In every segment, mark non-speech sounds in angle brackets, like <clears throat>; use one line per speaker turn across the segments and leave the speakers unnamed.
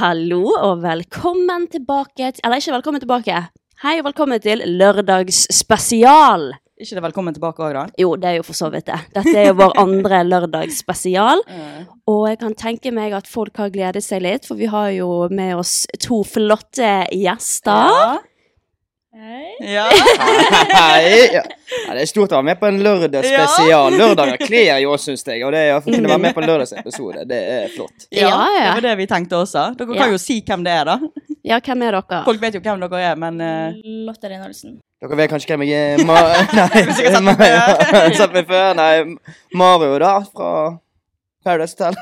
Hallo og velkommen tilbake til, Eller ikke velkommen tilbake. Hei og velkommen til lørdagsspesial.
Ikke det velkommen tilbake òg, da?
Jo, det er jo for så vidt det. Dette er jo
<laughs>
vår andre lørdagsspesial. Og jeg kan tenke meg at folk har gledet seg litt, for vi har jo med oss to flotte gjester.
Ja.
Hei! Ja. Ja, det er stort å være med på en lørdagsspesial. Lørdager kler jo oss, syns jeg. Og det å kunne være med
Mm.
på en lørdagsepisode, det er flott.
<laughs> Ja, ja.
Det var det vi tenkte også. Dere kan
Ja.
jo si hvem det er, da.
Ja, hvem er dere?
Folk vet jo hvem dere er, men eh,
Lotta Lene Olsen.
Dere vet kanskje hvem jeg er? Ma <laughs> Nei,
Hvis jeg har sett
Ma-
meg før.
Ja, sett meg før. Nei, Mario, da, fra Paradise
<laughs>
Hotel.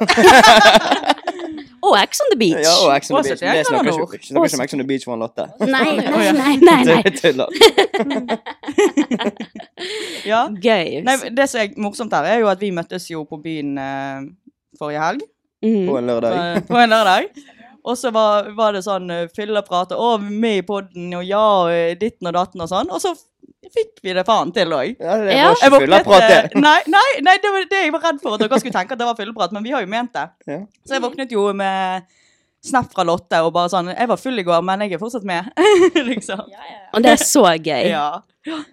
Og Ex on the Beach.
Ja, og Ex on the
Åse,
Beach. Men
det kan
det snakker
han
ikke
også.
ikke snakker ikke om Ex on the Beach for en Lotte.
Nei, nei, nei,
<laughs>
<laughs>
nei, nei.
Tuller.
ja.
Gøy.
Nei, det som er morsomt her, er jo at vi møttes jo på byen eh, forrige helg.
Mm.
På en lørdag.
eh, På en lørdag. Og så var, var det sånn eh, fylleprat og 'Å, vi er med i podden', og 'ja', og eh, ditten og datten og sånn. Og så f- fikk vi det faen til òg.
Ja, det
Ja.
Jeg
var ikke fylleprat,
våknet, eh,
det.
Nei, nei, nei, det var det jeg var redd for. At dere skulle tenke at det var fylleprat, men vi har jo ment det.
Ja.
Så jeg våknet jo med snap fra Lotte og bare sånn Jeg var full i går, men jeg er fortsatt med. <laughs> liksom.
Og det er så gøy.
Ja.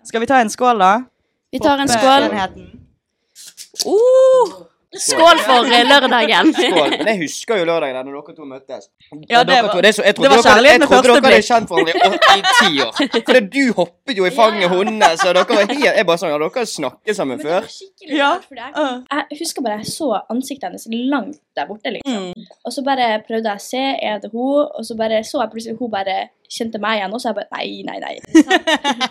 Skal vi ta en skål, da?
Vi tar en
For
skål.
enheten.
Uh, skål for eh, lørdagen.
Skål. Men jeg husker jo lørdagen der når dere to møttes.
Ja, det
Dere
var-
to- det, er så-
det
jeg trodde
var
dere,
kjærlighet
jeg
med
trodde
første
dere hadde
blikk.
kjent hverandre i åtte- i ti år. Fordi du hoppet jo i fanget hennes, og dere var helt Jeg bare sånn Ja, dere har snakket
Men
sammen
det
før.
var skikkelig
Ja.
rart, for jeg, jeg husker bare jeg så ansiktet hennes langt der borte, liksom.
Mm.
Og så bare prøvde jeg å se, er det hun? Og så bare så jeg plutselig hun bare kjente meg igjen, og så jeg bare nei, nei, nei.
<laughs>
ikke sant?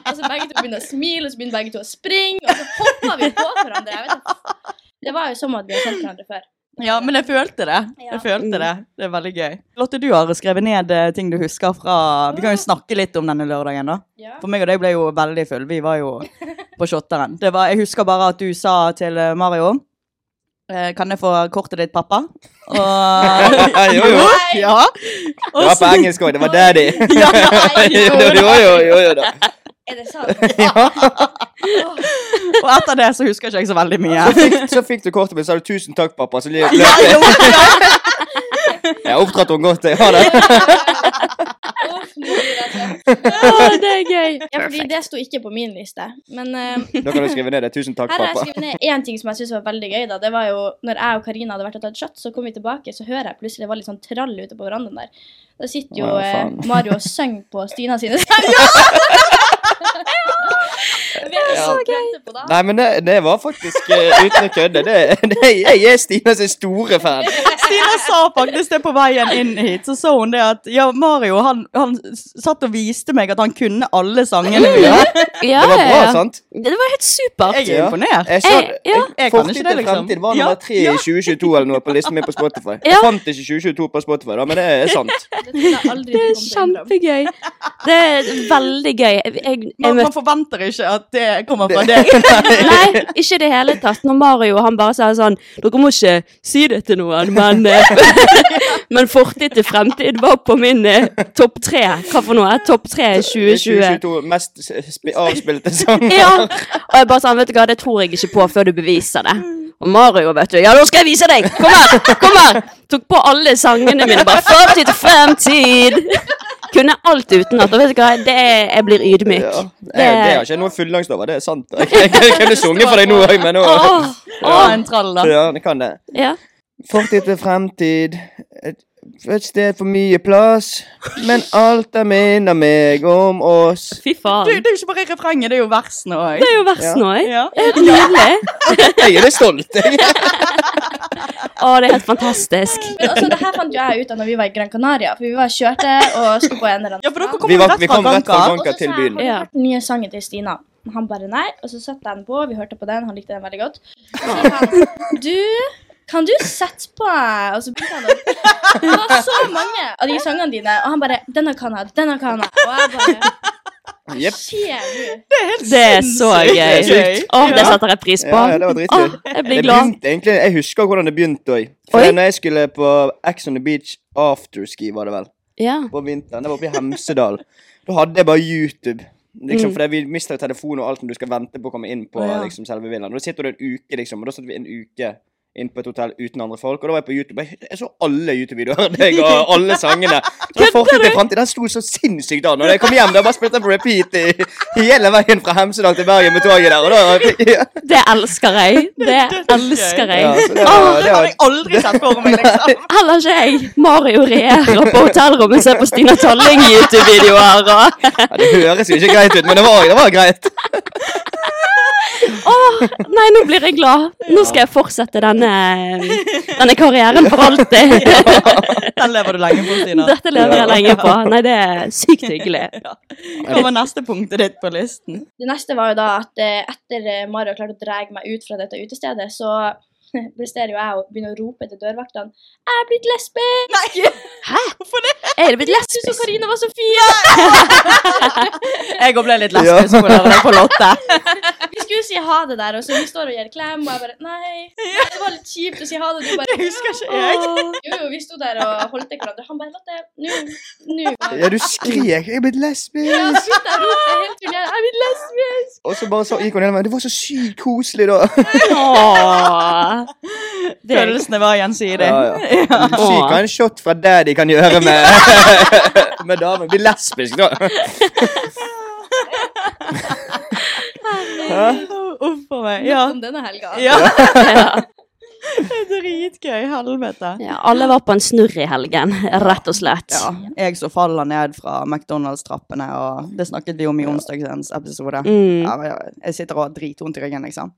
og så begge to begynner å smile, og så begynner begge to å springe, og så hoppa vi på hverandre. Jeg vet ikke. Det var jo som at vi har kjent hverandre før.
Ja, men jeg følte det.
Ja.
Jeg følte det. Det er veldig gøy. Lotte, du har skrevet ned eh, ting du husker fra Vi kan jo snakke litt om denne lørdagen, da.
Ja.
For meg og deg ble jo veldig full. Vi var jo på shotteren. Det var, jeg husker bare at du sa til eh, Mario eh, Kan jeg få kortet ditt, pappa?
<laughs>
Og
jo, jo.
Ja.
Det var på engelsk òg. Det var daddy.
Ja,
<laughs> jo, jo, jo, jo, jo da.
Er det sant?
<laughs>
Ja.
Og etter det så husker jeg ikke så veldig
<laughs>
mye.
Så fikk- Så fikk du kortet mitt, så sa du 'tusen takk, pappa', så løp løp jeg. <laughs> Jeg oppdratt henne godt, jeg har det.
Uff, nå blir jeg trøtt.
<laughs> Å, det er gøy.
Ja, fordi det sto ikke på min liste. Men eh,
Da kan du skrive ned det. 'Tusen takk,
Her har jeg
pappa'.
skrevet ned én ting som jeg synes var veldig gøy. da. Det var jo, når jeg og Karina hadde vært og tatt shot, så kom vi tilbake, så hører jeg plutselig det var litt sånn trall ute på verandaen der. Da sitter jo
Å,
eh,
faen.
<laughs> Mario og synger på Stina sine sanger. Ja! Vet
Ja.
Tenkte på da.
Nei, men det, det var faktisk eh, uten å kødde. Det, det, jeg er Stina sin store fan.
Stina sa faktisk det på veien inn hit. Så så hun det at ja, Mario han, han satt og viste meg at han kunne alle sangene
Mm.
mine.
Ja,
Det var
ja,
bra,
ja.
sant?
Det var helt supert.
<laughs> Jeg er imponert. Eh,
Jeg sa
Jeg- Eh, ja.
jeg-
Jeg kan
Fortid
ikke det,
til
liksom.
fremtid var
Ja,
nummer tre
ja.
i 2022 eller noe på listen min på
<laughs>
Spotify.
Ja.
Jeg fant ikke 2022 på Spotify, da, men det er sant.
Det trodde jeg aldri du
Det er
kom til å innrømme.
kjempegøy. Det er veldig gøy. Jeg, jeg, jeg
Man,
møtte
man forventer ikke at det kommer fra deg.
Nei, ikke i det hele tatt. Når Mario han bare sa sånn Dere må ikke si det til noen, men, eh, <laughs> men fortid til fremtid var på min eh, topp tre. Hva for noe? Topp tre i 2020.
2022 mest s- sp-
<laughs>
avspilte sang.
Ja. Og jeg bare sånn, vet du hva, det tror jeg ikke på før du beviser det. Og Mario, vet du. Ja, nå skal jeg vise deg! Kom her! kom her Tok på alle sangene mine. Bare fortid til fremtid! Kunne alt utenat. Og vet du hva, det er, jeg blir ydmyk.
Ja. Det, det har ikke jeg noe fullangst over, det er
<laughs>
sant. Jeg, jeg, kunne sunget for deg nå òg, men nå
Åh,
Å, en trall, da.
<laughs> Ja, det kan det.
ja.
Fortid til fremtid. Et, et sted for mye plass, men alt det minner meg om oss.
Fy
Det,
faen.
det er jo ikke bare refrenget, det er jo versene òg.
Det er jo verst nå, jeg.
Ja.
Det er helt nydelig.
Jeg er litt stolt. jeg.
Å, det er helt fantastisk.
Men <laughs> altså, det her fant jo jeg ut av når vi var i Gran Canaria. For vi var kjørte og skulle på en eller annen
Ja, for dere
strand.
kom
Vi
jo
var-
rett
vi
fra
kom rett fra
Granca.
Granca.
Og så sa jeg,
til byen.
Har du
Ja.
hørt den nye sangen til Stina? Han bare nei. Og så satte jeg den på, vi hørte på den, han likte den veldig godt. Og så sa han du, kan du sette på Og så begynte han å Det var så mange av de sangene dine, og han bare Denne kan jeg, denne kan jeg. Og jeg bare
Jepp.
Skjer du?
Det er så
Det er
gøy.
sykt.
Å, det setter jeg pris på.
Ja, ja, det var dritgøy.
Å, jeg blir
Det
glad.
begynte egentlig, Jeg husker hvordan det begynte òg.
Oi.
For når jeg skulle på X on the Beach afterski, var det vel,
Ja.
på vinteren, det var oppe i Hemsedal, da hadde jeg bare YouTube. Liksom, Fordi vi mister jo telefon og alt når du skal vente på å komme inn på
Mm. Å, ja.
liksom, selve villaen. Og Da sitter du en uke, liksom. Og da satt vi en uke inn på et hotell uten andre folk, og da var jeg på YouTube. Jeg, jeg så alle YouTube-videoer <laughs> av deg og alle sangene. Så jeg fortet til fremtid. Den sto så sinnssykt an. Og da jeg kom hjem, da bare spilte jeg på repeat i, hele veien fra Hemsedal til Bergen med toget der. Og da, ja.
Det elsker jeg. Det elsker
Ja,
jeg.
så det var,
Det
det
hadde
var
jeg aldri sett for meg,
<laughs>
liksom.
Heller ikke jeg. Mario regjerer på hotellrommet og ser på Stina Talling YouTube-videoer. og-
ja, Det høres jo ikke greit ut, men det var, det var greit.
Å, nei, nå blir jeg glad. Nå skal jeg fortsette denne, denne karrieren for alltid.
Den lever du lenge på, Stina.
Dette lever jeg lenge på. Nei, det er sykt hyggelig.
Ja. Hva var neste punktet ditt på listen?
Det neste var jo da at eh, etter eh, Mario klarte å dra meg ut fra dette utestedet, så <laughs> presterer jo jeg å begynne å rope til dørvaktene 'Jeg er blitt lesbisk!'
Nei,
Er det blitt
Jeg syns
lesbisk?
Karina var så fin!
jeg òg ble litt lesbisk på lørdag på Lotte.
<laughs>
Vi skulle si ha det der, og så vi står og gir klem, og jeg bare Nei. Det var litt kjipt å si ha det, og du bare
Jeg husker ikke jeg.
Jo, jo, vi sto der og holdt i hverandre. Han bare Lotte, nå Nå.
Ja, du skrek 'jeg er blitt
Ja,
lesbisk',
slutt å rope helt til jeg er blitt lesbisk!
og så bare så gikk hun gjennom meg. Det var så sykt koselig, da.
Åh. Det
liksom
er
Følelsene var gjensidige.
Ja, ja. Sykt hva en shot fra daddy kan gjøre med, <laughs> med damer. Bli lesbisk, da.
Uff a meg.
Ja.
Ja.
Om denne helga.
<laughs> ja. Det er Dritgøy. Helvete.
Ja, alle var på en snurr i helgen, rett og slett.
Ja, jeg så faller ned fra McDonald's-trappene, og det snakket vi om i onsdagens episode.
Mm.
Ja, ja, jeg sitter og har dritvondt i ryggen, liksom.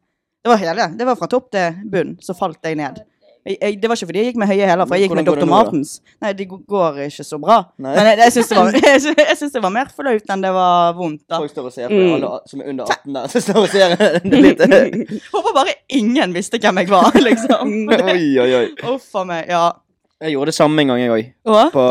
Det var hele. Det var fra topp til bunn, så falt jeg ned. Jeg, jeg, det var ikke fordi jeg gikk med høye hæler, for jeg gikk med
Hvordan går
Dr.
det nå, da?
Martens. Nei, det g- går ikke så bra.
Nei.
Men jeg, jeg syns det,
<laughs>
var- <laughs> jeg sy- jeg syns det var mer flaut enn det var vondt, da.
Folk står og ser på alle som er under 18 der, så står og ser det litt
Håper bare ingen visste hvem jeg var, <laughs> liksom.
<laughs> Oi, oi, oi.
Uff a meg. Ja.
Jeg gjorde det samme en gang, jeg òg.
Og?
på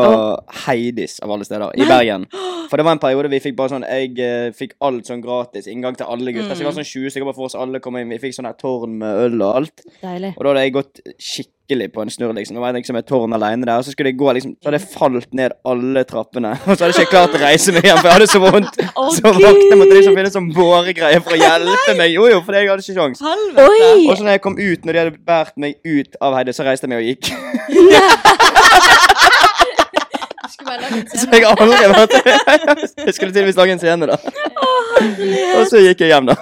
Heidis, av alle steder, i Bergen. For det var en periode vi fikk bare sånn Jeg eh, fikk alt sånn gratis. Inngang til alle gutter. Så vi var sånn 20 stykker bare for oss alle kom inn. Vi fikk sånn her tårn med øl og alt.
Deilig.
Og da hadde jeg gått skikkelig på en snurr, liksom. Det var liksom et tårn alene der. Og så skulle jeg gå, liksom. Så hadde jeg falt ned alle trappene. <laughs> Og så hadde jeg ikke klart å reise meg igjen, for jeg hadde så vondt. så vaktene måtte liksom finne sånn båregreie for å hjelpe meg. Jo, jo, for jeg hadde ikke sjans.
Helvete.
Oi!
Og så når jeg kom ut, når de hadde båret meg ut av Heidi, så reiste jeg meg og gikk.
Jeg skulle bare lage en
Så
scene.
jeg har aldri vært Jeg skulle tydeligvis lage en scene, da. Og så gikk jeg hjem, da.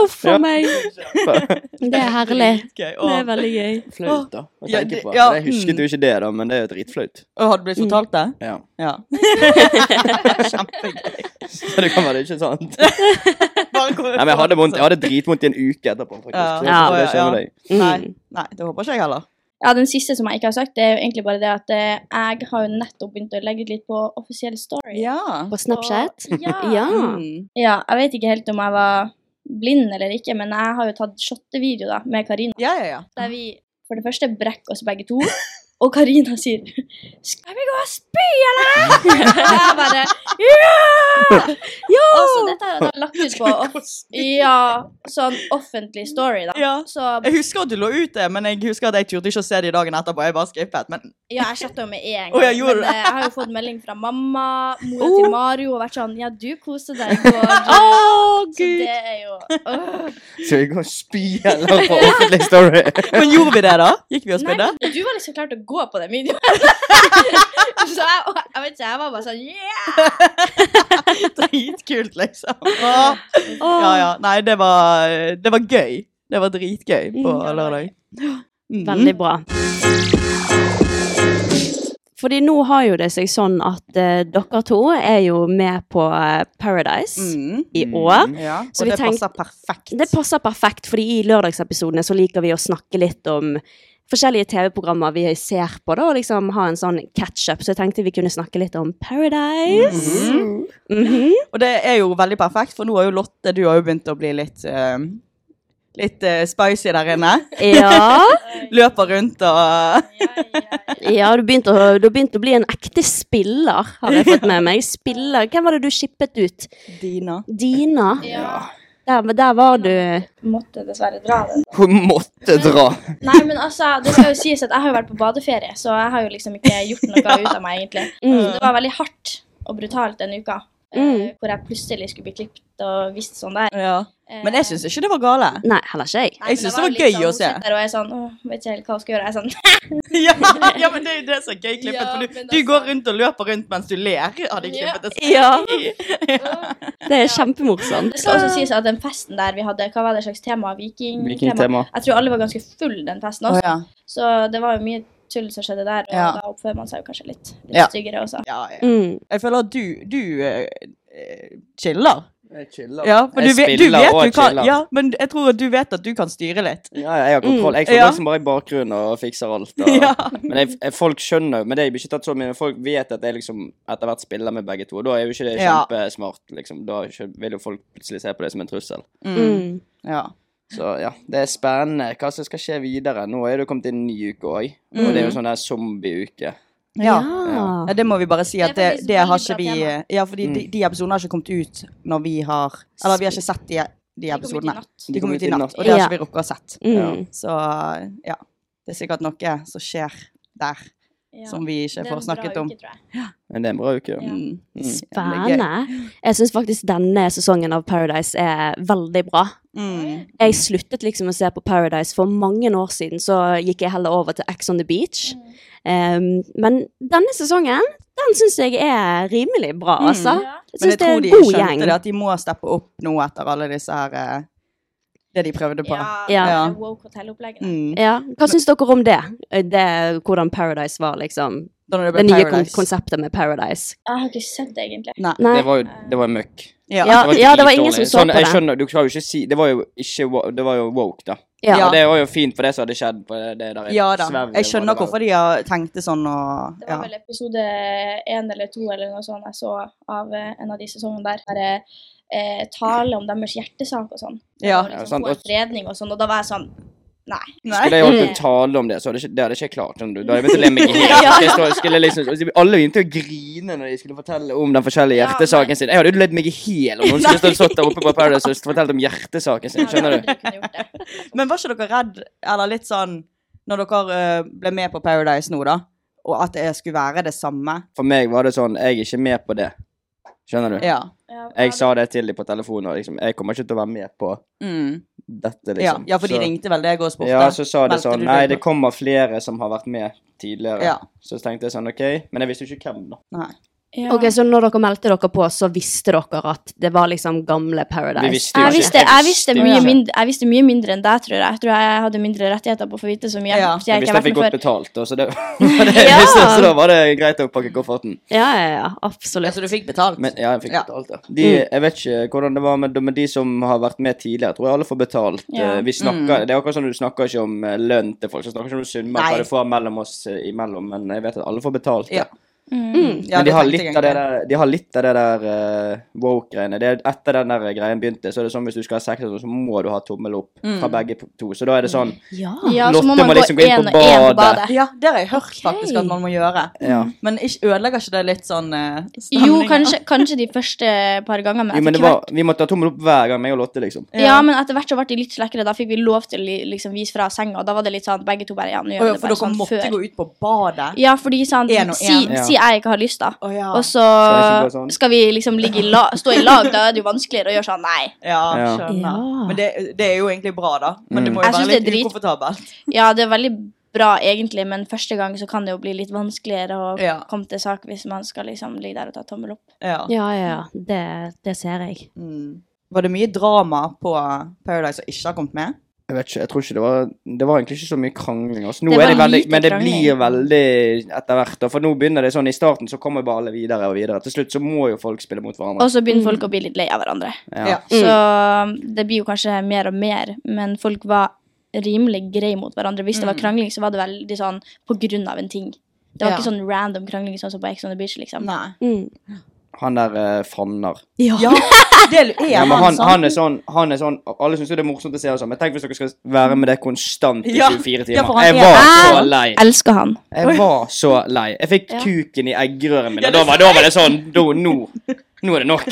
Uff
Ja.
a meg. Det er herlig.
Gøy.
Det er
Og,
veldig gøy.
Flaut, da. Å
Ja,
tenke
det-
på.
ja,
Jeg husket jo ikke det, da, men det er jo dritflaut.
og hadde du blitt fortalt det?
Ja.
Ja. Kjempegøy.
Så det kan være ikke sant. Nei, men jeg hadde, vondt, jeg hadde dritvondt i en uke etterpå, faktisk.
altså. Ja.
Det, ja,
Ja,
det
ja,
skjer
ja.
med deg.
Mm.
Nei, nei, det håper ikke jeg heller.
Ja, Den siste som jeg ikke har sagt, det er jo egentlig bare det at eh, jeg har jo nettopp begynt å legge ut litt på offisiell story.
Ja.
På Snapchat?
Og- <laughs> Ja.
<laughs> Ja.
Mm.
ja. Jeg vet ikke helt om jeg var blind eller ikke, men jeg har jo tatt shottevideo da, med Karina.
ja, ja, ja.
Der vi for det første brekker oss begge to. <laughs> Og Karina sier 'Skal vi gå og spy,
<laughs>
eller?' Og jeg bare Ja!
<laughs>
ja! Altså, dette har jeg da lagt ut på off ja, sånn offentlig story, da.
Ja.
Så
Jeg husker at du lå ut det, men jeg husker at jeg turte ikke å se det i dagen etterpå. Jeg bare skippet, men
ja, jeg chatta jo med en
Å,
gang.
ja,
men
gjorde du? Oh.
eh, jeg har jo fått melding fra mamma, mora til Mario, og vært sånn 'Ja, du koste deg i går.' Så
Gud.
det er jo Åh.
Skal vi gå og spy eller på offentlig story?
Men gjorde vi det, da? Gikk vi og
Nei,
spydde?
men du var liksom klar til å gå på den
<laughs>
videoen. så jeg, og jeg vet ikke, jeg var bare sånn yeah!
<laughs> Dritkult, liksom. Åh. Ja, ja. Nei, det var, det var gøy. Det var dritgøy på
Mm.
lørdag. Mm.
Veldig bra. Fordi nå har jo det seg sånn at eh, dere to er jo med på eh, Paradise
Mm.
i år.
Ja,
Så
og
vi
det
tenk-
passer perfekt.
Det passer perfekt, fordi i lørdagsepisodene så liker vi å snakke litt om forskjellige TV-programmer vi ser på, da, og liksom ha en sånn catch-up. Så jeg tenkte vi kunne snakke litt om Paradise. Mhm.
Og det er jo veldig perfekt, for nå har jo Lotte, du har jo begynt å bli litt eh, Litt eh, spicy der inne.
<laughs>
Ja.
Løper rundt og
ja, du begynte, å, du begynte å bli en ekte spiller, har jeg fått med meg. Spiller. Hvem var det du skippet ut?
Dina.
Dina?
Ja.
Der, der var du
Måtte dessverre dra den.
Hun måtte dra.
Nei, men altså, det skal jo sies at jeg har jo vært på badeferie, så jeg har jo liksom ikke gjort noe ut av meg, <laughs> egentlig. Så det var veldig hardt og brutalt den uka, eh,
Mm.
hvor jeg plutselig skulle bli klippet og vist sånn der.
Ja.
Eh,
Men jeg syns ikke det var gale.
Nei, heller ikke jeg.
nei, men
jeg synes det var
litt
gøy
sånn,
å
hun
se.
sitter Der, og jeg er sånn, åh, vet ikke helt hva jeg skal gjøre. Jeg er sånn,
ja, <laughs> ja, men det er jo det som er gøy klippet.
Ja,
for du,
men
du
altså-
går rundt og løper rundt mens du ler av det
Ja.
klippet.
Ja,
åh. <laughs>
det er kjempemorsomt.
Det skal også sies at den festen der vi hadde, hva var det slags tema? Viking-tema?
Vikingtema.
Jeg tror alle var ganske full den festen
Å,
også,
ja.
så det var jo mye tull som skjedde der, og
Ja.
da oppfører man seg jo kanskje litt, litt
Ja.
styggere også.
Ja, ja.
Mm.
Jeg føler at du, du eh, eh, chiller.
Jeg chiller.
Ja, men du,
Jeg
vet- du
spiller
vet
og
du kan,
chiller.
ja, men jeg tror at du vet at du kan styre litt.
Ja, ja, jeg har kontroll. Jeg står
Ja.
liksom bare i bakgrunnen og fikser alt.
<laughs>
Og,
Ja.
Men jeg, jeg, folk skjønner jo Men det er jo ikke tatt så mye. Folk vet at jeg liksom etter hvert spiller med begge to. og Da er jo ikke det
Ja.
kjempesmart, liksom. Da skjø- vil jo folk plutselig se på det som en trussel.
Mm.
Ja.
Så ja, det er spennende hva som skal skje videre. Nå er det jo kommet inn en ny uke òg, og det er
Mm.
jo sånn der zombieuke.
Ja.
Ja.
Ja, det må vi bare si at
Det er
det,
faktisk veldig
det har ikke
bra
vi
tema.
Ja, fordi de, de episodene har ikke kommet ut når vi har Eller vi har ikke sett de, de
kom ut i
episodene.
natt.
De kom ut i natt, og det har ikke vi rukket å sett.
Mm.
Så ja, det er sikkert noe som skjer der
Ja.
som vi ikke
Det er en
får
bra
snakket om.
uke, tror jeg.
Men det er en bra uke. Ja.
Mm.
Spennende. Jeg syns faktisk denne sesongen av Paradise er veldig bra.
Mm.
Jeg sluttet liksom å se på Paradise for mange år siden, så gikk jeg heller over til X on the Beach. Um, men denne sesongen, den syns jeg er rimelig bra, altså.
Ja.
Jeg
Men
syns
jeg
det er
tror
en
de
god
skjønte
gjeng.
det, at de må steppe opp nå etter alle disse her eh, Det de prøvde på.
Ja,
Ja.
ja. woke hotellopplegget. der.
Mm.
Ja. Hva syns dere om det? det? Hvordan Paradise var, liksom?
Da når det
Det
ble
nye kon
Paradise.
konseptet med Paradise.
Jeg har ikke sett det, egentlig.
Nei.
Nei.
Det var jo det var møkk.
Ja.
Ja. det var ingen
dritdårlig.
som så
sånn,
på
jeg
det.
skjønner, du skal jo ikke si Det var jo ikke wo- Det var jo woke, da.
Ja.
Og det var jo fint for det som hadde skjedd på det, det der.
ja da.
svervet,
Jeg skjønner
var det vel.
hvorfor de har tenkt det sånn og
Det
ja.
var vel episode én eller to eller noe sånt jeg så av eh, en av de sesongene der. der eh, tale om deres hjertesak og sånn.
Ja.
Og
Ja,
liksom,
sant.
få en fredning og sånn, og da var jeg sånn Nei.
Skulle jeg
Nei. <laughs>
holdt en tale om det, så hadde ikke, det hadde ikke jeg klart. skjønner du. Da hadde jeg begynt å le meg i hjel. Jeg stod- skulle liksom- altså, Alle begynte å grine når de skulle fortelle om den forskjellige
Ja,
hjertesaken sin. Jeg hadde jo ledd meg i hjel om noen skulle stå- stått der oppe på Paradise og fortalt om hjertesaken sin. Skjønner du?
Jeg hadde aldri kunnet gjort det.
Men var ikke dere redd, eller litt sånn Når dere eh, ble med på Paradise nå, da, og at det skulle være det samme?
For meg var det sånn Jeg er ikke med på det. Skjønner du?
Ja.
Ja,
Jeg sa det til dem på telefonen, og liksom Jeg kommer ikke til å være med på
Mm. ja.
dette, liksom.
ja, for de
Så-
ringte vel deg og spurte?
Ja, så sa det
Meldte du
sånn
deg
Nei,
på?"
det kommer flere som har vært med tidligere.
Ja.
Så tenkte jeg sånn OK, men jeg visste jo ikke hvem, da.
Nei.
Ja.
Ok, Så når dere meldte dere på, så visste dere at det var liksom gamle Paradise?
Vi visste jo
Jeg
ikke.
visste, jeg, visste
Jeg
mye
ikke.
mindre, jeg visste mye mindre enn deg, tror jeg. Jeg tror jeg hadde mindre rettigheter på å få vite så mye.
Ja.
fordi ikke
Jeg visste
har
jeg
vært
fikk godt
med før.
betalt, og
<laughs>
så, det, var det,
Ja.
så, så da var det greit å pakke kofferten.
Ja, ja, ja, absolutt.
Så du fikk betalt?
Men ja, jeg fikk
Ja.
betalt, ja. De,
Mm.
jeg vet ikke hvordan det var med, men de som har vært med tidligere, tror jeg alle får betalt.
Ja. Mm.
Eh, Vi snakker, Det er akkurat sånn du snakker ikke om eh, lønn til folk, så snakker ikke om summer
Nei.
hva du får mellom oss eh, imellom, men jeg vet at alle får betalt.
Ja.
Ja.
Mm, Ja,
men de
det
har,
tenkte
litt
jeg
av det
egentlig.
der, de har litt av det der eh, woke-greiene. Det er- Etter den der greien begynte, så er det sånn hvis du skal ha sex, og sånn, så må du ha tommel opp fra begge to. Så da er det sånn
Ja, så må
Lotte
man gå
må liksom gå inn
en
på
og en på
badet.
badet.
Ja, det har jeg hørt faktisk at man må gjøre.
Ja.
Men ikke ødelegger ikke det litt sånn eh,
Jo,
stemningen?
kanskje, kanskje de første par ganger, men
Jo, men
etter
det var, vi måtte ha tommel opp hver gang, meg og Lotte, liksom.
Ja. men etter hvert så ble de litt slekkere. Da fikk vi lov til å li- liksom vise fra senga, og da var det litt sånn at begge to bare Ja, nå
Å
gjør vi
ja,
det
for
bare
dere
sånn
måtte
før.
gå ut på badet?
Ja, fordi sant,
En og
si,
en.
Ja.
si jeg ikke har lyst, da.
Å ja.
Og så
jeg ikke bare sånn?
skal vi liksom ligge i la, stå i lag, da er det jo vanskeligere å gjøre sånn nei.
Ja,
Ja. Mm.
skjønner.
Ja.
Men det, det er jo egentlig bra, da. Men det må jo
Jeg
være
synes det
litt
er drit-
ukomfortabelt.
Ja, det er veldig bra egentlig, men første gang så kan det jo bli litt vanskeligere å
Ja.
komme til sak hvis man skal liksom ligge der og ta tommel opp.
Ja.
Ja, ja, ja. Det, det ser jeg.
Mm. Var det mye drama på Paradise som ikke har kommet med?
Jeg vet ikke, jeg tror ikke det var Det var egentlig ikke så mye krangling. Altså. Nå
Det
er det
var
veldig,
lite
men det
krangling.
blir veldig etter hvert. da, For nå begynner det sånn I starten så kommer bare alle videre og videre. Til slutt så må jo folk spille mot hverandre.
Og så begynner folk å bli litt lei av hverandre.
Ja.
Mm.
Så um, det blir jo kanskje mer og mer, men folk var rimelig greie mot hverandre. Hvis det
Mm.
var krangling, så var det veldig sånn på grunn av en ting. Det var
Ja.
ikke sånn random krangling sånn som på Ex on the Beach, liksom.
Nei.
Han der eh, Fannar.
Ja, det er
Ja, men han,
sant?
han, er sånn, han er sånn Alle syns jo det er morsomt å se og sånn, men tenk hvis dere skal være med det konstant i
Ja.
24
Ja, for
timer.
han
Jeg
er-
var
Ah!
så lei.
Elsker han.
Jeg var så lei. Jeg fikk kuken i eggerøret mitt,
Ja,
og da var, da var det sånn da, Nå Nå er det nok.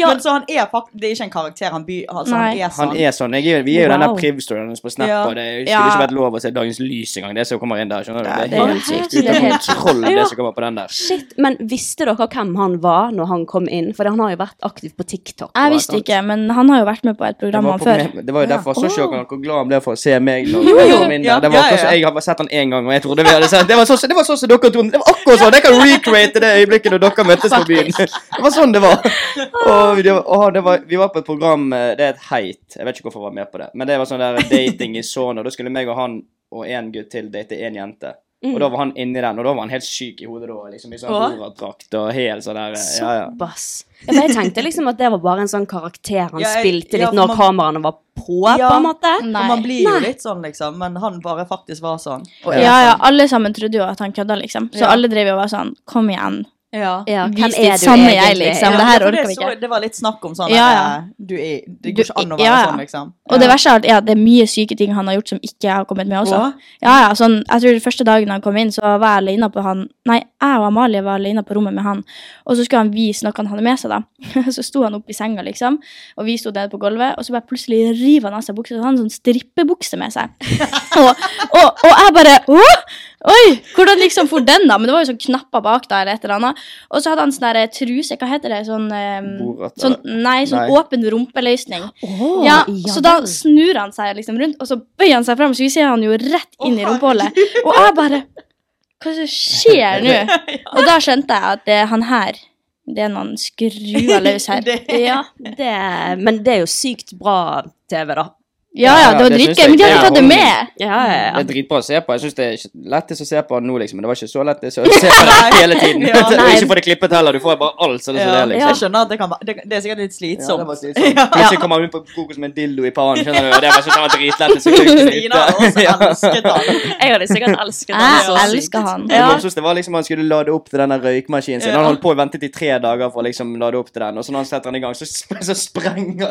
Men så han er faktisk Det er ikke en karakter, han, by, altså,
Nei.
han er sånn.
Han er sånn. Jeg, er- vi er jo den der
Wow.
Priv-storyen hennes på Snap,
Ja.
og det skulle
Ja.
ikke vært lov å se dagens lys engang. Det som kommer inn der, skjønner du?
Ja,
det er helt sykt. Ute av kontroll,
Ja.
det som kommer på den der.
Shit, men visste dere hvem han var når han kom inn? For han har jo vært aktiv på TikTok.
Jeg visste ikke, men han har jo vært med på et
Det
program
var,
han før.
på- det var jo derfor så ikke dere hvor glad han ble for å se meg.
<laughs>
Når
Jo,
jeg
jo.
kom inn
Ja,
der. Det
ja,
var
ja,
akkurat
ja.
så- Jeg har bare sett han én gang, og jeg trodde vi hadde sett Det var sånn som det var sånn som dere trodde. Det var akkurat sånn! Jeg kan recreate det øyeblikket når dere møttes på byen. Det var sånn det var. Og det var, å, det var vi var på et program eh, Det er et heit. Jeg vet ikke hvorfor jeg var med på det. Men det var sånn der dating i Sona. Da skulle meg og han og en gutt til date en jente. Og da var han inni den, og da var han helt syk i hodet da. Liksom, I sånn
Åh.
Borat-drakt og helt sånn der eh, ja, ja.
Såpass. Ja, men jeg tenkte liksom at det var bare en sånn karakter han
Ja, jeg-
spilte litt
ja, for
når
man-
kameraene var på,
Ja.
på en måte.
Nei.
For man blir jo
Nei.
litt sånn, liksom. Men han bare faktisk var sånn. Og er
Ja, ja, alle sammen trodde jo at han kødda, liksom. Så alle drev jo og var sånn Kom igjen.
Ja.
Ja,
Vis
hvem
ditt
er du
sanne jeg,
egentlig? Ja.
liksom. Det her
for
orker vi
så-
ikke.
Det var litt snakk om sånn
Ja,
at,
ja.
eh, du er, Det
Du-
går ikke an å være
ja, ja.
sånn, liksom.
Og det verste er at ja, det er mye syke ting han har gjort som ikke jeg har kommet med også.
Hva?
Ja, ja, sånn, jeg tror første dagen han kom inn, så var jeg alene på han Nei, jeg og Amalie var alene på rommet med han, og så skulle han vise noe han hadde med seg, da. <laughs> Så sto han oppe i senga, liksom, og vi sto nede på gulvet, og så bare plutselig river han av seg buksa, så har han har sånn strippebukse med seg. <laughs> og, og, og jeg bare Å! Oi! Hvordan liksom for den, da? Men det var jo sånn knapper bak da, eller et eller annet. Og så hadde han sånn der, eh, truse, hva heter det, sånn eh,
Borat,
Sånn, nei, sånn
Nei.
åpen rumpeløsning.
Åh,
ja,
ja
så da
vel.
snur han seg liksom rundt, og så bøyer han seg frem, så vi ser han jo rett inn i rumpehullet. Og jeg bare Hva som skjer nå? Og da skjønte jeg at det, er han her Det er noen skruer løs <laughs> her.
Det-
Ja,
Det, men det er jo sykt bra TV, da.
ja, ja det
Ja,
var
det synes
dritgøy,
jeg-
men de hadde
det er
tatt det
holdning.
med.
Ja, ja,
Det
ja.
er dritbra å se på. Jeg synes det er ikke lettest å se på nå, liksom. Men det var ikke så
<laughs>
lett å se på det hele tiden.
Ja,
<laughs> Og
nei.
ikke få det klippet heller. Du får bare alt sånn som det
Ja,
er,
jeg
liksom.
skjønner at det kan være Det, det er sikkert litt
Ja,
slitsomt.
det var slitsomt. Plutselig kommer han ut på kokos med en dildo i pannen, skjønner du. Og det var sånn at han var dritlett. og
<laughs>
så gikk det ut.
Stina altså. har også elsket han.
<laughs>
Jeg
liksom
hadde sikkert elsket
Jeg
så sykt.
elsker han.
Det morsomste var liksom han skulle lade opp til denne røykmaskinen sin. Han holdt på og ventet i tre dager for å liksom lade opp til den, og så når han setter den i gang, så, sp- så sprenger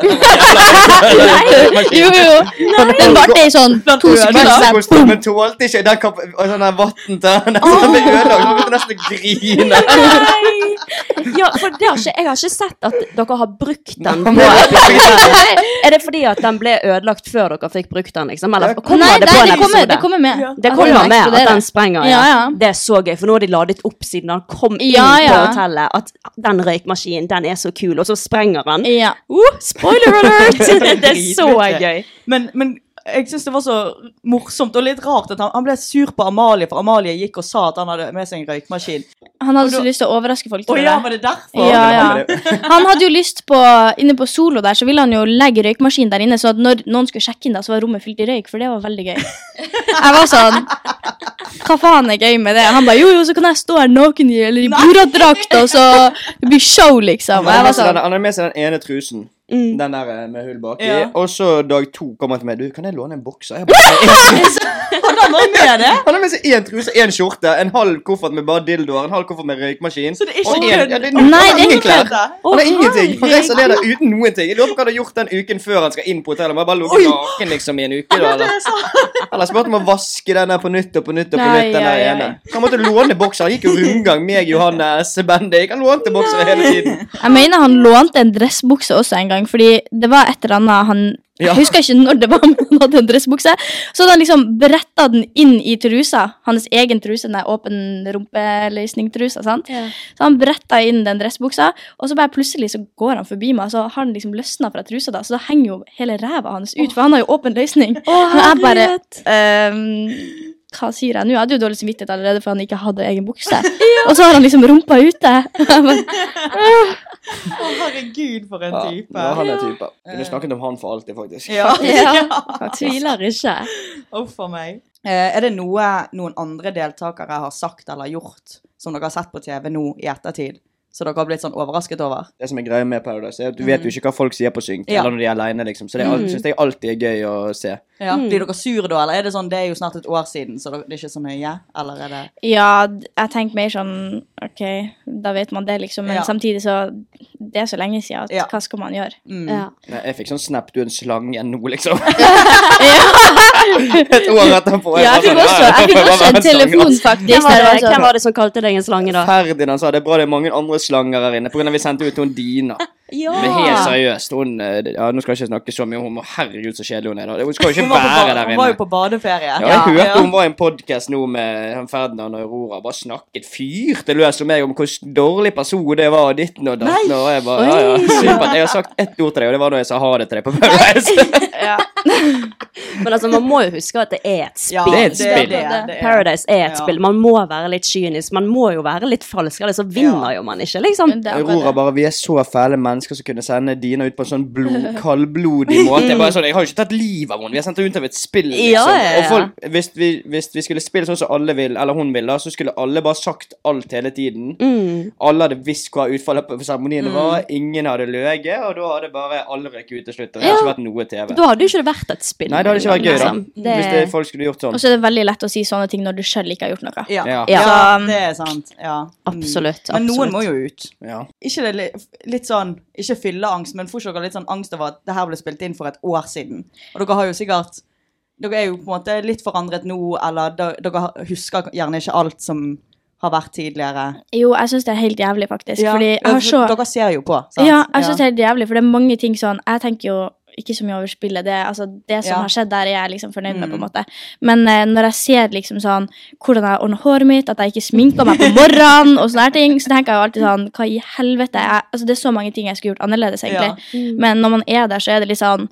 <laughs>
den.
<laughs>
Jo, jo. Den varte i sånn to sekunder.
Mexico-stemmen tålte ikke den kap- og sånn der vatten til den. <laughs> Så den ble ødelagt. Han begynte nesten å grine.
Nei! Ja, for det har ikke, jeg har ikke sett at dere har brukt den. På. Er det fordi at den ble ødelagt før dere fikk brukt den, liksom? Eller kommer
Nei,
det
nei,
på en
det kommer,
episode?
det kommer
<laughs>
med.
Det
At
kommer
den
med at
eksploderer.
den sprenger.
Ja, ja.
Det er så gøy, for nå har de ladet opp siden han kom inn
Ja, ja.
på hotellet. At den røykmaskinen, den er så kul, og så sprenger han.
Ja. <laughs>
Uh, spoiler alert! det er så
Dritbra.
gøy.
Men, men Jeg syns det var så morsomt og litt rart at han, han ble sur på Amalie, for Amalie gikk og sa at han hadde med seg en røykmaskin.
Han hadde så
Og da-
lyst til å overraske folk.
Å
tror jeg.
ja, var det derfor?
Ja, ja.
Men det-
<laughs> Han hadde jo lyst på Inne på Solo der, så ville han jo legge røykmaskin der inne, så at når noen skulle sjekke inn, da, så var rommet fylt i røyk, for det var veldig gøy. <laughs> Jeg var sånn Hva faen er gøy med det? Han ba jo, jo, så kan jeg stå her naken i eller i buradrakt, og så det blir show, liksom. Og
Han
jeg
hadde med
var
seg
sånn
den- han hadde med seg den ene trusen.
Mm.
Den der eh, med hull baki.
Ja.
Og så dag to kommer han til meg. Du, kan jeg låne en bokser? Jeg bare,
<laughs>
Hadde han vært med det? <laughs>
han har med seg én truse, én skjorte, en halv koffert med bare dildoer, en halv koffert med røykmaskin.
Så det er ikke
og en-
kødd?
ja, det er
Nei, det er
noe- han har
ikke
ingen klær.
kødd.
Han har ingenting. Han
herregud.
reiser ned der uten noen ting. Jeg lurer på hva han har gjort den uken før han skal inn på hotellet. Han har bare ligget naken liksom i en
<laughs>
uke. Da, eller. eller spurt om å vaske den der på nytt og på nytt og på
Nei,
nytt. den der
ja, ja.
ene. Han måtte låne bokser. Han gikk jo rundgang meg, Johannes, Bendik. Han lånte bokser hele tiden.
Jeg mener han lånte en dressbukse også en gang, fordi det var et eller annet han
Ja.
Jeg husker ikke når det var, <laughs> men han hadde en dressbukse. Så hadde han liksom bretta den inn i trusa, hans egen truse, den der åpen rumpeløsning-trusa. sant? Så han bretta inn den dressbuksa, og så bare plutselig så går han forbi meg, og så har den liksom løsna fra trusa, da, så da henger jo hele ræva hans ut, for han har jo åpen løsning. Og jeg bare ehm, Hva sier jeg nå? Jeg hadde jo dårlig samvittighet allerede, for han ikke hadde egen bukse. Og så har han liksom rumpa ute. <laughs> Jeg bare,
Å, herregud, for en
Ja, det
type. Eh.
var han en type. Kunne snakket om han for alltid, faktisk.
<laughs> Ja.
<laughs>
Ja.
Tviler ikke.
Uff a meg. Eh, er det noe noen andre deltakere har sagt eller gjort som dere har sett på TV nå i ettertid, så dere har blitt sånn overrasket over?
Det som er greia med Paradise, er at du vet jo ikke hva folk sier på synk,
Mhm. Ja.
eller når de er alene, liksom. Så det er alt- synes jeg alltid er gøy å se.
Ja. Mm. Blir dere sur da, eller er det sånn det er jo snart et år siden, så det er ikke så nøye? Eller er det
Ja, d- jeg tenker mer sånn Ok, da vet man det, liksom. Men
Ja.
samtidig så Det er så lenge siden. At,
Ja.
Hva skal man gjøre?
Mm.
Ja.
Nei, Jeg fikk sånn snap, du er en slange nå,
<laughs>
liksom. Et år etterpå.
Ja, jeg fikk
bare sånn,
også,
ja,
jeg fikk
bare
også
være
en telefon,
slange,
faktisk.
Hvem var,
der
det,
det var
hvem
sånn-
var det som kalte deg en slange,
altså.
da?
Ferdinand sa det er bra det er mange andre slanger her inne, på grunn av vi sendte ut hun Dina.
Ah.
Men helt seriøst, hun eh, Ja, nå skal jeg ikke snakke så mye om henne. Herregud, så kjedelig hun er. da. Hun skal jo ikke
Hun var, på
være
ba-
der
hun var jo
inne.
på badeferie.
Ja, jeg hørte hun var i en podkast nå med han Ferdinand og Aurora. Bare snakket fyrte løs om meg om hvor dårlig person det var, og ditten og datten. Og jeg bare, ja, ja, supert. Jeg har sagt ett ord til deg, og det var da jeg sa ha det til deg på Paradise.
Men altså, man må jo huske at det er et
Ja,
spill.
Det er et spill.
det, det er.
Paradise er et
Ja.
spill. Man må være litt kynisk. Man må jo være litt falsk, ellers så vinner jo man ikke, liksom.
Men det er
Aurora
bare-
bare Vi er så fæle mennesker som kunne sende Dina ut på en sånn blod, kaldblodig måte. Jeg, bare sånn, jeg har jo ikke tatt livet av henne. Vi har sendt henne ut av et spill, liksom.
Ja, ja, ja.
Og folk, hvis vi, hvis vi skulle spille sånn som alle vil, eller hun vil, da, så skulle alle bare sagt alt hele tiden. Alle hadde visst hva utfallet på seremonien var. Ingen hadde løyet, og da hadde bare alle røket ut til slutt. Og det hadde ikke vært noe TV.
Da hadde jo ikke det vært et spill.
Nei, det hadde ikke vært gøy, da.
liksom.
Hvis det, folk skulle gjort
Og
sånn.
så er det veldig lett å si sånne ting når du sjøl ikke har gjort noe.
Ja.
Ja.
Ja.
Ja.
det er sant. Ja. Mm.
Absolutt.
Men noen
absolutt.
må jo ut.
Ja.
Ikke det li- litt sånn, ikke fylleangst, men får ikke dere litt sånn angst over at det her ble spilt inn for et år siden? Og dere har jo sikkert Dere er jo på en måte litt forandret nå, eller de- dere har- husker gjerne ikke alt som har vært tidligere.
Jo, jeg syns det er helt jævlig, faktisk.
Ja,
Fordi jeg har så
Dere ser jo på, sant?
Ja, jeg synes det er helt jævlig, for det er mange ting sånn Jeg tenker jo ikke så mye over spillet. Det, altså, det som
Ja. Mm.
har skjedd der, er jeg liksom fornøyd med, på en måte. Men eh, når jeg ser liksom sånn hvordan jeg ordner håret mitt, at jeg ikke sminker meg på
<laughs>
morgenen, og sånne her ting, så tenker jeg jo alltid sånn Hva i helvete? Jeg, altså, det er så mange ting jeg skulle gjort annerledes, egentlig.
Mm.
Men når man er der, så er det litt sånn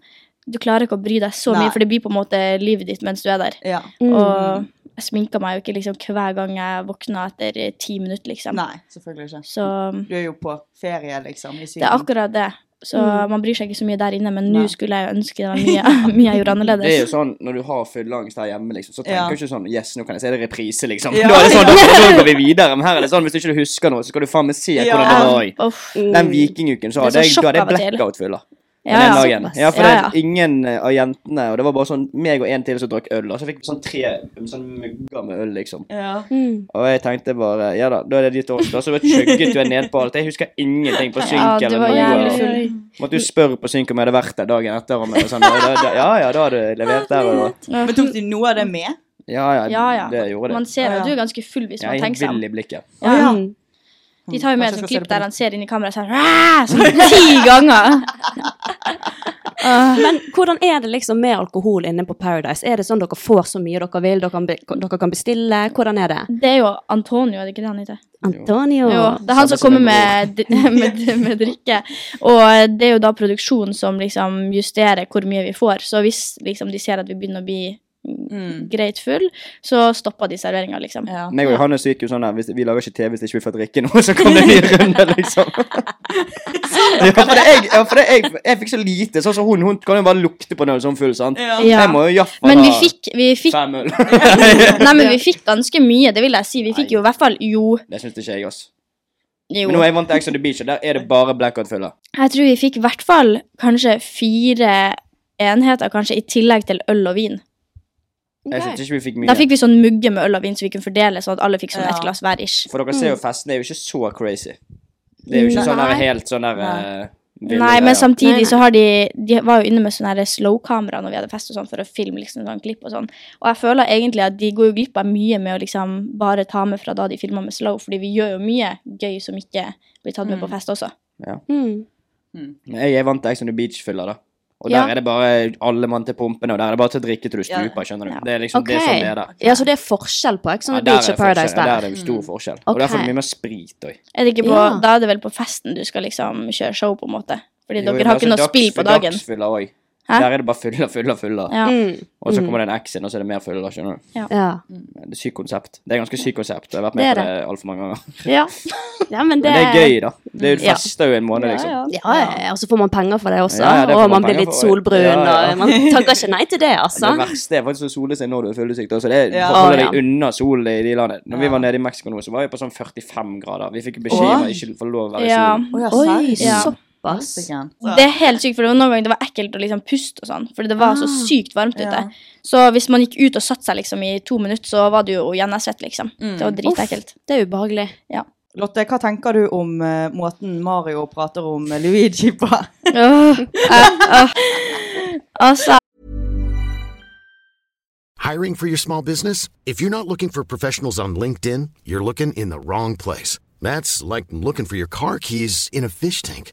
Du klarer ikke å bry deg så
Nei.
mye, for det blir på en måte livet ditt mens du er der.
Ja.
Mm.
Og jeg sminker meg jo ikke liksom hver gang jeg våkner etter eh, ti minutter, liksom.
Nei, selvfølgelig ikke.
Så
Du er jo på ferie, liksom. I Syden.
det er akkurat det. Så
Mm.
man bryr seg ikke så mye der inne, men nå
Nei.
skulle jeg jo ønske det
<laughs>
var mye, <laughs> mye jeg gjorde
Det er jo
annerledes.
sånn, Når du har fylleangst her hjemme, liksom, så tenker
Ja.
du ikke sånn Yes, nå kan jeg se det i reprise,
<laughs>
liksom.
Ja.
Da er det sånn, da, da går vi videre. Men her er det sånn, hvis du ikke husker noe, så skal du faen meg se
Ja.
hvordan det var. i.
Uff.
Den vikinguken så
Det Mm. er
hadde
sånn
jeg, da
sjokk av
hadde jeg
og til.
blackout-fyller.
Ja,
den
ja.
dagen. Ja, for
Ja,
det er ingen eh, av jentene Og det var bare sånn meg og en til som drakk øl. Og så fikk vi sånn tre sånn mugger med øl, liksom.
Ja.
Og jeg tenkte bare Ja da, da er det ditt år. Da så bare chugget du nedpå alt. Jeg husker ingenting på synk.
Ja, du
eller
var
noe.
jævlig full.
Måtte jo spørre på synk om jeg hadde vært der dagen etter. Om jeg, var sånn, da, da, ja ja, da hadde du levert der og da.
Men tok de noe av det med?
Ja ja,
Ja, ja.
det gjorde det.
Man ser
Ja,
jo
ja.
du er ganske full hvis
Jeg
man
er
tenker seg om.
vill i blikket.
Å, ja.
De tar jo med sånn et
Kanskje jeg
sånt
skal se
klipp
<laughs>
det på
der han ser inn i kameraet sånn, «Ræ!» sånn ti ganger. Og
Men hvordan er det liksom med alkohol inne på Paradise? Er det sånn dere får så mye dere vil, dere kan, be dere kan bestille? Hvordan er det?
Det er jo Antonio, er det ikke det han heter?
Antonio?
Jo, det er han som kommer med, dri- <laughs> med, med drikke. Og det er jo da produksjonen som liksom justerer hvor mye vi får. Så hvis liksom de ser at vi begynner å bli
Mm.
greit full, så stopper de serveringa, liksom.
Ja.
Meg og Johannes gikk jo sånn der, hvis, vi lager ikke TV hvis ikke vi får drikke noe, så kommer det en ny
<laughs>
runde, liksom. Ja, for det, jeg, ja, for det, jeg, jeg fikk så lite, sånn som hun, hun kan jo bare lukte på en øl sånn full, sant?
Ja.
Ja.
Jeg må jo i hvert fall
Men vi
ha
fikk, vi fikk
fem øl.
<laughs> Nei, men
<laughs>
vi fikk ganske mye, det vil jeg si. Vi fikk jo i hvert fall Jo.
Det synes ikke jeg, altså.
jo.
Men nå er jeg vant til Ex on the Beach, og der er det bare blackout-fyller.
Jeg tror vi fikk i hvert fall kanskje fire enheter, kanskje i tillegg til øl og vin.
Jeg synes ikke vi fikk
Da
mye.
fikk vi sånn mugge med øl og vin som vi kunne fordele, sånn at alle fikk sånn ett
Ja.
glass hver ish.
For dere ser jo festen er jo ikke så crazy. Det er jo ikke sånn der
Nei.
helt sånn der...
Nei.
Nei,
eh, ville greier.
men
Nei, nei.
samtidig så har de De var jo inne med sånne her slow-kamera når vi hadde fest og sånn, for å filme liksom sånn klipp og sånn. Og jeg føler egentlig at de går jo glipp av mye med å liksom bare ta med fra da de filma med slow, fordi vi gjør jo mye gøy som ikke blir tatt med på fest også.
Mm.
Men Jeg er vant til Ex on the Beach-fyller, da. Og der
Ja.
er det bare alle mann til pumpene, og der er det bare til å drikke til du
Ja.
stuper. skjønner du?
Ja.
Det er liksom det er sånn det er der.
Ja, så det er forskjell på Ex on
Ja,
the
der,
Beach
er
og Paradise
forskjell. der
der?
er det jo stor forskjell.
Ok.
Og derfor er det mye mer sprit òg.
Er det ikke på
Ja.
Da er det vel på festen du skal liksom kjøre show, på en måte? Fordi dere har ikke noe spill på dagen.
Dagsfyller altså også.
Hæ?
Der er det bare fyller, fyller, fyller.
Ja.
Mm.
Og så kommer det en X inn, og så er det mer fyller. skjønner du?
Ja.
Det er et sykt konsept. Det er et ganske sykt konsept. Jeg har vært
Det
med
er
på det altfor mange ganger.
ja. ja, men det
Men det er gøy, da. Det er jo
Ja.
festa jo en måned, liksom.
Ja, ja.
Ja, ja, og så får man penger for det også.
Ja, ja, det får
og
man
man blir
penger
litt
for.
solbrun,
Ja, ja.
og man takker ikke nei til det, altså.
Det
Sånn.
verste er faktisk å sole seg når du er fyllesyk. da, Så det
Ja.
Å,
holder
ja.
deg unna solen i de landene. Når vi
Ja.
var nede i Mexico nå, så var vi på sånn 45 grader. Vi fikk beskjed om å ikke få lov å være i
Ja.
solen.
Å ja,
Oi,
sant.
Ja.
såpass.
Sikkert.
Det er helt sykt, for det var noen ganger det var ekkelt å liksom puste og sånn, fordi det var så
Ah.
sykt varmt ute.
Ja.
Så hvis man gikk ut og satte seg liksom i to minutter, så var det jo gjennomsvett, liksom.
Mm.
Det var dritekkelt.
Det er ubehagelig.
Lotte, hva tenker du om eh, måten Mario prater om eh, Luigi på?
Åh, eh, åh. altså,
Hiring for your small business? If you're not looking for professionals on LinkedIn, you're looking in the wrong place. That's like looking for your car keys in a fish tank.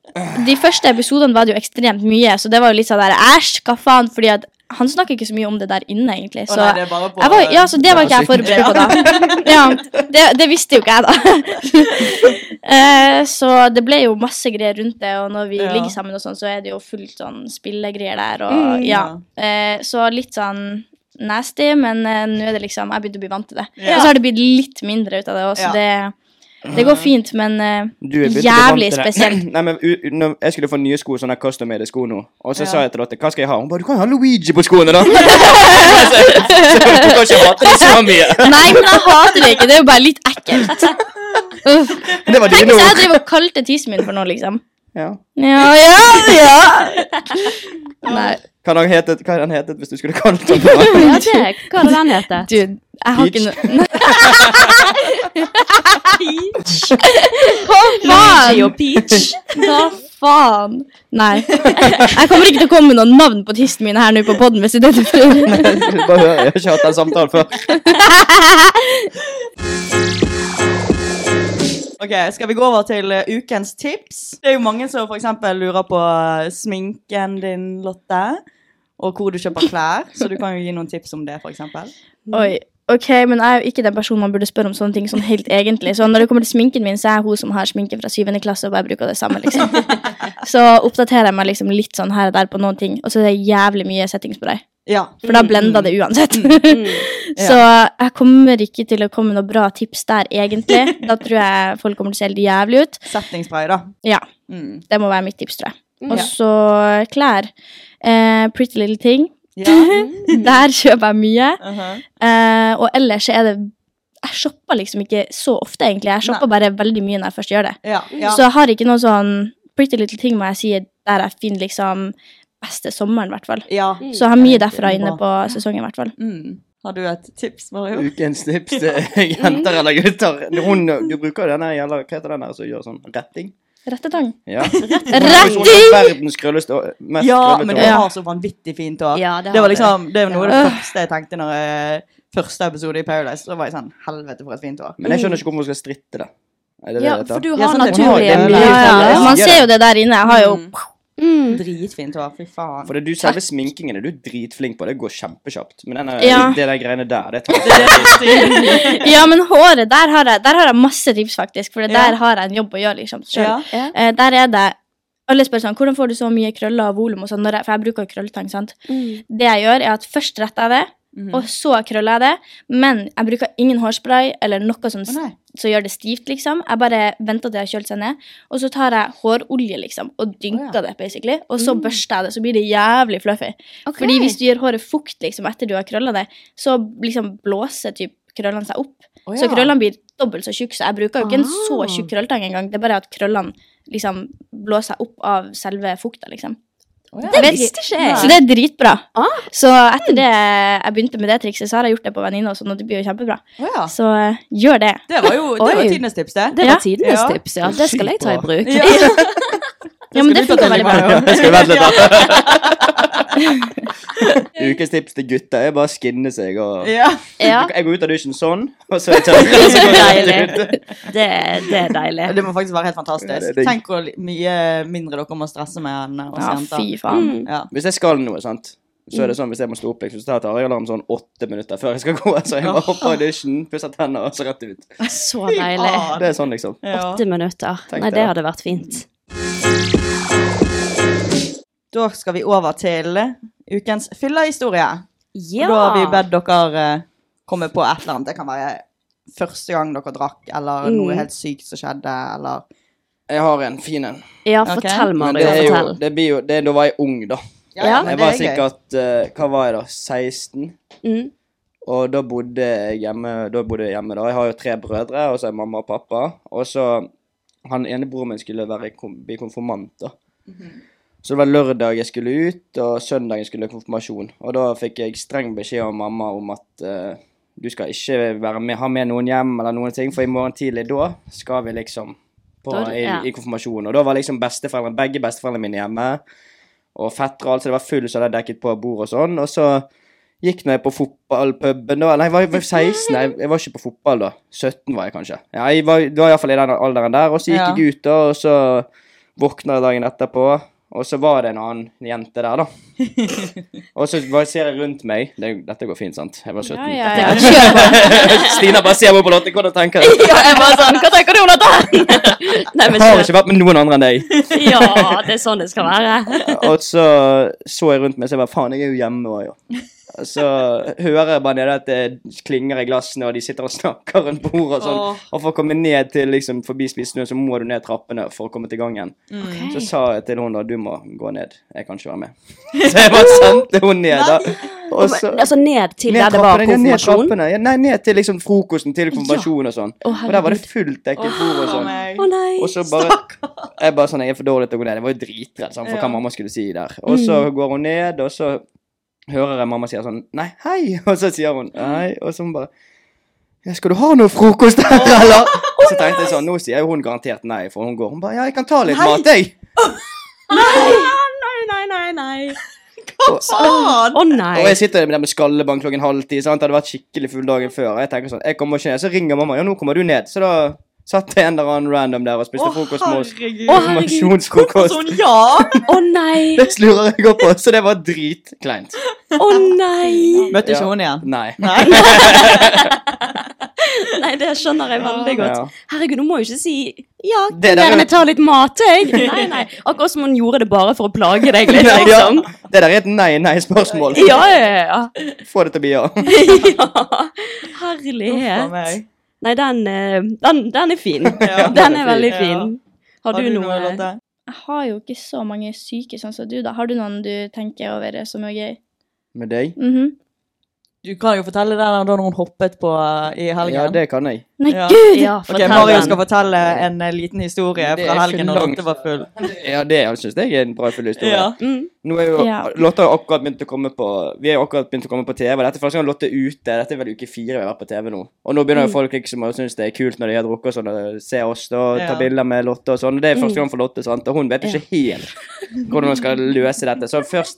de første episodene var det jo ekstremt mye, så det var jo litt sånn der æsj, hva faen, fordi at han snakker ikke så mye om det der inne, egentlig. Så,
Å, nei, det er bare på-
jeg var, ja, så det var ikke jeg forberedt på, da. <laughs> Ja, det, det visste jo ikke jeg, da. <laughs> Eh, så det ble jo masse greier rundt det, og når vi
Ja.
ligger sammen, og sånn, så er det jo fullt sånn spillegreier der. Og, ja. Eh, så litt sånn nasty, men eh, nå er det liksom Jeg begynte å bli vant til det.
Ja.
Og så har det blitt litt mindre ut av det også,
Ja.
så det, det går fint, men eh,
Du er begynt å bli vant
jævlig
til det.
spesielt.
<clears throat> Nei, men u, u, når jeg skulle få nye sko, sånne custom-made sko nå, og så
Ja.
sa jeg til Lotte hva skal jeg ha? Hun bare du kan jo ha Luigi på skoene,
<laughs>
da! <laughs> så, så, du kan ikke hate det så mye.
<laughs> Nei, men jeg hater det ikke. Det er jo bare litt ekkelt. Uff.
<laughs> Det var
Tenk
dine
hvis jeg
ord.
driver og <laughs>
<laughs>
kalte tissen min for noe, liksom.
Ja.
Ja, ja, ja. Nei.
Hva hadde han hetet, hva hadde han hetet hvis du skulle kalt
<laughs>
ham
Ja, det. Hva hadde den hett?
Du, jeg har ikke noe Hva faen?
Luigi og Peach.
Hva faen? Nei. Jeg kommer ikke til å komme med noen <laughs> navn på tisten mine her nå på podden hvis det er det du tror.
Bare hør, <laughs> jeg har ikke hatt den samtalen før.
Ok, Skal vi gå over til eh, ukens tips? Det er jo mange som for eksempel lurer på eh, sminken din, Lotte. Og hvor du kjøper klær. Så du kan jo gi noen tips om det, for eksempel.
Mm. Oi, ok, men jeg er jo ikke den personen man burde spørre om sånne ting sånn helt egentlig. Så når det kommer til sminken min, så er jeg hun som har sminke fra syvende klasse, og bare bruker det samme,
<laughs>
liksom. Så oppdaterer jeg meg liksom litt sånn her og der på noen ting, og så er det jævlig mye settingspray.
Ja. Mm.
For da blender det uansett. Så jeg kommer ikke til å komme med noen bra tips der,
<laughs>
egentlig. Da tror jeg folk kommer til å se helt jævlig ut.
Settingspray, da.
Ja.
Mm.
Det må være mitt tips, tror jeg.
Mm.
Og
Ja.
så klær. Eh, pretty Little Thing. <laughs>
Ja. Mm.
Der kjøper jeg mye.
Mhm.
Eh, og ellers så er det Jeg shopper liksom ikke så ofte, egentlig. Jeg shopper bare veldig mye når jeg først gjør det.
Ja, ja.
Så jeg har ikke noe sånn Pretty Little Thing må jeg si er der jeg finner liksom beste sommeren, i hvert fall.
Ja.
Mm.
Så jeg har mye
Det er
derfra inne
bra.
på sesongen, i hvert fall.
Mm. Har du et tips, Mario?
Ukens tips til <laughs> jenter eller gutter. Hun, du bruker jo denne jævla, hva heter den her som gjør sånn retting?
Rettetang.
Ja. sånn
Retting!
Verdens krølleste og mest
Ja,
krøllete
men
hår.
det har så vanvittig fint hår.
Ja, det
det,
har
var
det.
liksom, det var noe av det
Ja.
første jeg tenkte når jeg, første episode i Paradise. Så var jeg sånn Helvete, for et fint hår.
Men jeg skjønner ikke hvorfor hun skal stritte det. Er det det
Ja,
det heter?
for du
Ja,
har
sånn, det-
naturlig
det er
mye.
mye
Ja,
sånn,
ja.
det-
Man ser jo det der inne. Jeg har jo
Mm.
Dritfint hår. Fy faen.
For det du selve sminkingen er du dritflink på. Det går kjempekjapt. Men denne,
Ja.
det der greiene der, det tar
Ja, men håret, der har jeg, der har jeg masse tips, faktisk. For det
Ja.
der har jeg en jobb å gjøre, liksom. Selv.
Ja.
Ja.
Eh, der er det Alle spør sånn, hvordan får du så mye krøller og volum, og sånn, når jeg, for jeg bruker krølletang. sant?
Mm.
Det jeg gjør, er at først retter jeg det,
Mhm.
og så krøller jeg det. Men jeg bruker ingen hårspray eller noe som,
Å, nei.
som gjør det stivt, liksom. Jeg bare venter til det har kjølt seg ned, og så tar jeg hårolje, liksom, og dynker det, basically. Og så
Mm.
børster jeg det, så blir det jævlig fluffy.
Ok.
Fordi hvis du gir håret fukt liksom, etter du har krølla det, så liksom blåser typ krøllene seg opp.
Å,
Så
ja.
krøllene blir dobbelt så tjukke, så jeg bruker jo ikke en så
Ah.
tjukk krølltang engang. Det er bare at krøllene liksom blåser seg opp av selve fukta, liksom.
Å, ja.
Jeg vet
visste ikke jeg.
Så det er dritbra.
Ah.
Så etter det jeg begynte med det trikset, så har jeg gjort det på venninner og sånn, og det blir jo kjempebra.
Å, ja.
Så eh, gjør det.
Det var jo det var
Oi.
tidenes tips, det.
Det
Ja.
var tidenes
Ja.
tips, ja. Det skal jeg ta i bruk.
Ja.
<laughs>
<laughs>
Ja, men
Skal
det
du ta
funker
den i
veldig bra.
morgen?
<laughs> Jeg skal vente litt, da. Ukens tips til gutter er bare å skinne seg og
Ja. <laughs>
Ja,
Jeg går ut av dusjen sånn, og så tar jeg det.
det er deilig. Det, det er deilig.
Det må faktisk være helt
Ja,
fantastisk.
det er digg.
Tenk hvor li- mye mindre dere må stresse med enn oss
Ja,
jenter.
fy faen.
Ja.
Hvis jeg skal noe, sant så
Mm.
er det sånn, Hvis jeg må stå opp, liksom, så tar jeg et alarm sånn åtte minutter før jeg skal gå. Så jeg bare hopper i dusjen, pusser tenner og så rett ut.
<laughs>
Så deilig.
Det er sånn, liksom.
Ah, Ja.
Åtte minutter.
Tenk
Nei,
det,
det
da.
hadde vært fint.
Da skal vi over til ukens fyllehistorie.
Ja.
Da har vi bedt dere eh, komme på et eller annet. Det kan være første gang dere drakk, eller noe
Mm.
helt sykt som skjedde, eller
Jeg har en fin en.
Ja,
Ok.
fortell,
Men
Mario.
det er jo,
Fortell.
det blir jo det, Da var jeg ung, da.
Ja,
men
Jeg
det
var
er gøy.
sikkert eh, Hva var jeg da? 16?
Mm.
Og da bodde jeg hjemme. Da bodde jeg hjemme da. Jeg har jo tre brødre, og så er mamma og pappa. Og så Han ene broren min skulle være, kom, bli konfirmant, da. Så det var lørdag jeg skulle ut, og søndagen skulle jeg konfirmasjon. Og da fikk jeg streng beskjed av mamma om at eh, du skal ikke være med, ha med noen hjem eller noen ting, for i morgen tidlig da skal vi liksom på,
Da er du-
i,
ja.
i konfirmasjon. Og da var liksom besteforeldrene, begge besteforeldrene mine hjemme, og fettere og alt, så det var full, så jeg hadde dekket på bord og sånn. Og så gikk nå jeg på fotballpuben da. Nei, jeg var, jeg var 16, jeg, jeg var ikke på fotball da. 17 var jeg kanskje. Ja, jeg var, det var iallfall i den alderen der. Og så gikk
Ja.
jeg ut da, og så våkna jeg dagen etterpå. Og så var det en annen
<laughs>
jente der, da. Og så bare ser jeg rundt meg. Det, dette går fint, sant? Jeg var 17.
ja, ja.
<laughs> Stina bare ser meg på låten. Hvordan
<laughs>
tenker <laughs> du?
Ja, jeg var sånn, Hva tenker du om dette?
<laughs>
Nei,
Jeg
men
har
så,
ikke vært med noen andre enn deg.
ja, det er sånn det skal være.
Og så så jeg rundt meg, så jeg bare faen, jeg er jo hjemme òg, jo. Så hører jeg bare nede at det klinger i glassene, og de sitter og snakker rundt bordet og sånn.
Åh.
Og for å komme ned til liksom forbi spisestuen, så må du ned trappene for å komme til gangen.
Ok.
<laughs> Så sa jeg til hun da, du må gå ned, jeg kan ikke være med. Så jeg bare sendte hun ned da. Og så-
Altså ned til
Ned
der det var
trappene, ja, ned
konfirmasjon?
trappene, ja, nei, ned til liksom frokosten til konfirmasjon og sånn.
Å,
og der var det
herregud.
fullt dekket bord og sånn.
Å nei. <laughs>
Og så bare Jeg bare sånn, jeg er for dårlig til å gå ned. Jeg var jo dritredd sånn, for
Ja.
hva mamma skulle si der. Og så
Mm.
går hun ned, og så hører jeg mamma sier sånn Nei, hei. <laughs> Og så sier hun hei. Og så hun bare ja, Skal du ha noe frokost der, eller? så tenkte jeg sånn, nå sier hun garantert nei, for hun går. Hun bare ja, jeg kan ta litt
Nei.
mat, jeg.
Nei, nei, nei, nei.
Hva
faen? Å nei.
Og jeg sitter der med skallebank klokken halv ti. sant? Det hadde vært skikkelig full dagen før. Og jeg tenker sånn, jeg kommer ikke ned. Så ringer mamma. Ja, nå kommer du ned. Så da satt jeg en eller annen random der og spiste frokost med oss.
herregud.
Å, herregud.
Konfirmasjonsfrokost.
Ja!
Å nei.
Det slurer jeg opp på, så det var dritkleint.
Å nei.
<laughs> Møtte ikke
Ja.
hun igjen?
Nei.
Nei, det skjønner jeg veldig
Ja.
godt. Herregud, hun må jo ikke si Ja, kan
Det der er-
gjerne ta litt mat,
<laughs>
jeg. Nei, nei. Akkurat som hun gjorde det bare for å plage deg litt,
Nei, ja.
liksom.
Det der er et nei-nei-spørsmål.
Ja, ja, ja.
Få det til å bli ja.
<laughs>
ja.
Uff a
Herlighet.
meg.
Nei, den, eh, den, den er fin.
<laughs>
<laughs>
Ja,
Den er veldig
Ja.
fin. Har du noe
Lotte?
Jeg har jo ikke så mange syke sånn som du, da. Har du noen du tenker over eh, som er gøy?
Med deg?
Mhm.
Du kan jo fortelle den da når hun hoppet på eh, i helgen.
Ja, det kan jeg.
Nei,
Ja.
gud!
Ja,
Ok,
fortell
Mario
den.
skal fortelle en eh, liten historie
Det
fra
er
helgen
for
når
langt.
Lotte var full.
Ja, det syns jeg er en bra full historie.
Ja.
Mm.
Nå er jo,
Ja.
Lotte har jo akkurat begynt å komme på Vi har jo akkurat begynt å komme på TV. Dette er første gang Lotte er ute. Dette er vel uke fire vi har vært på TV nå. Og nå begynner jo folk liksom å synes det er kult når de har drukket og sånn, og se oss da, og ta
Ja.
bilder med Lotte og sånn. Og det er første gang for Lotte, sant. Og hun vet jo ikke helt hvordan hun skal løse dette. Så først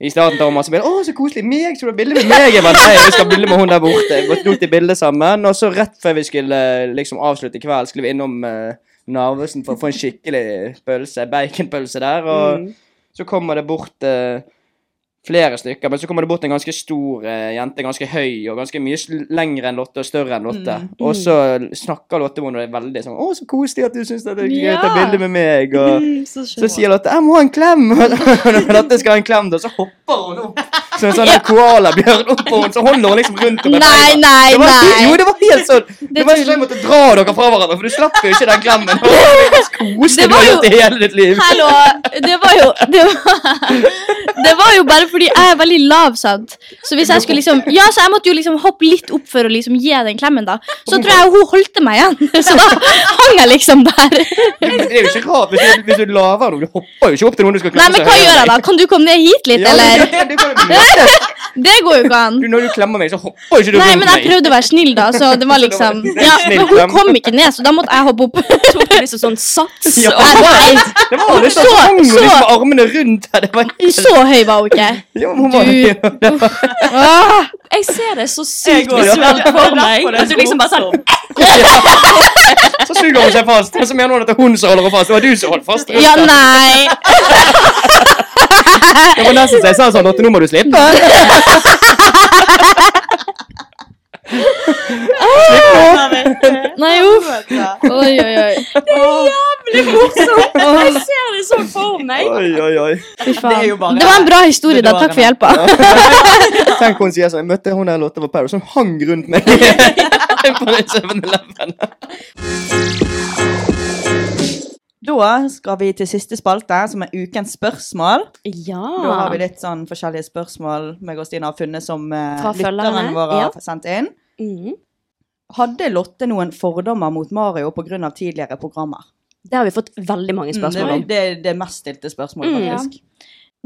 i starten tar hun masse bilder. 'Å, så koselig. Meg? Skal du ha bilde med meg?' Jeg bare, nei, vi skal ha bilde med hun der borte. Vi tok de bildene sammen. Og så rett før vi skulle liksom avslutte i kveld, skulle vi innom uh, Narvesen for å få en skikkelig pølse. Baconpølse der. Og så kommer det bort eh, flere stykker, men så kommer det bort en ganske stor eh, jente, ganske høy og ganske mye sl- lengre enn Lotte og større enn Lotte. Og så snakker Lotte med henne veldig sånn 'Å, så koselig at du syns det er gøy å ta
Ja.
bilde med meg', og
<laughs>
Mm, så
så
skjønner jeg.
sier Lotte 'Jeg må ha en klem', <laughs> og når Lotte skal ha en klem, da, så hopper hun opp. Som en sånn koalabjørn opp på henne, så holder hun liksom rundt henne. med
Nei,
beina.
nei,
Det var,
nei.
Jo, det var helt sånn. Det var ikke sånn jeg måtte dra dere fra hverandre, for du slapp jo ikke den klemmen. Det var det mest koselige
Det
du
var
har
jo-
gjort i hele ditt liv.
Hallo! Det var jo det var, det var <laughs> jo bare fordi jeg er veldig lav, sant. Så hvis jeg skulle liksom Ja, så jeg måtte jo liksom hoppe litt opp for å liksom gi den klemmen, da. Så tror jeg hun holdt meg igjen. <laughs> Så da hang jeg liksom der.
Det er jo ikke rart hvis du, hvis du laver noe. Du hopper jo ikke opp til noen du skal
Nei, men hva gjør jeg da? Kan du komme ned hit litt,
Ja, men
eller?
det- det kan du gjøre.
Det går jo ikke an.
Du, når du klemmer meg, så hopper jo ikke du
Nei,
rundt
men jeg
meg.
prøvde å være snill, da, så det var liksom Ja, men hun kom ikke ned, så da måtte jeg hoppe opp.
Tok du liksom sånn
<laughs>
sats?
<laughs> Ja,
og-
det var- det var liksom
Så-
så, hang hun
så-
liksom med armene rundt her. Det var helt
Så høy var hun ikke.
Jo, hun var det var-
Åh.
Jeg ser det så sykt
Jeg går, ja.
visuelt for
<laughs> Det er
meg.
derfor det er
At du liksom bare sånn
<laughs> Så suger hun seg fast. Og så mener hun at det er hun som holder henne fast. Det var du som holdt fast.
Ja, nei.
Det var nesten så jeg sa sånn Lotte, nå må du slippe.
<laughs> Nei, uff. Oi, oi, oi.
Jævlig morsomt! Jeg ser det sånn for meg.
Oi, oi, oi.
Fy faen.
Det er jo bare-
Det var en bra historie, da. Takk for hjelpa.
<laughs> Tenk hun sier sånn Jeg møtte hun der Lotte på Paris, hun hang rundt <laughs> meg. På den 7-Eleven.
Da skal vi til siste spalte, som er ukens spørsmål. Da
Ja.
har vi litt sånn forskjellige spørsmål meg og Stine har funnet som eh,
Fra følgerne,
lytterne våre
ja.
har sendt inn.
Mm.
Hadde Lotte noen fordommer mot Mario pga. tidligere programmer?
Det har vi fått veldig mange
Mm, det,
spørsmål om.
det er det mest stilte spørsmålet,
Mm.
faktisk.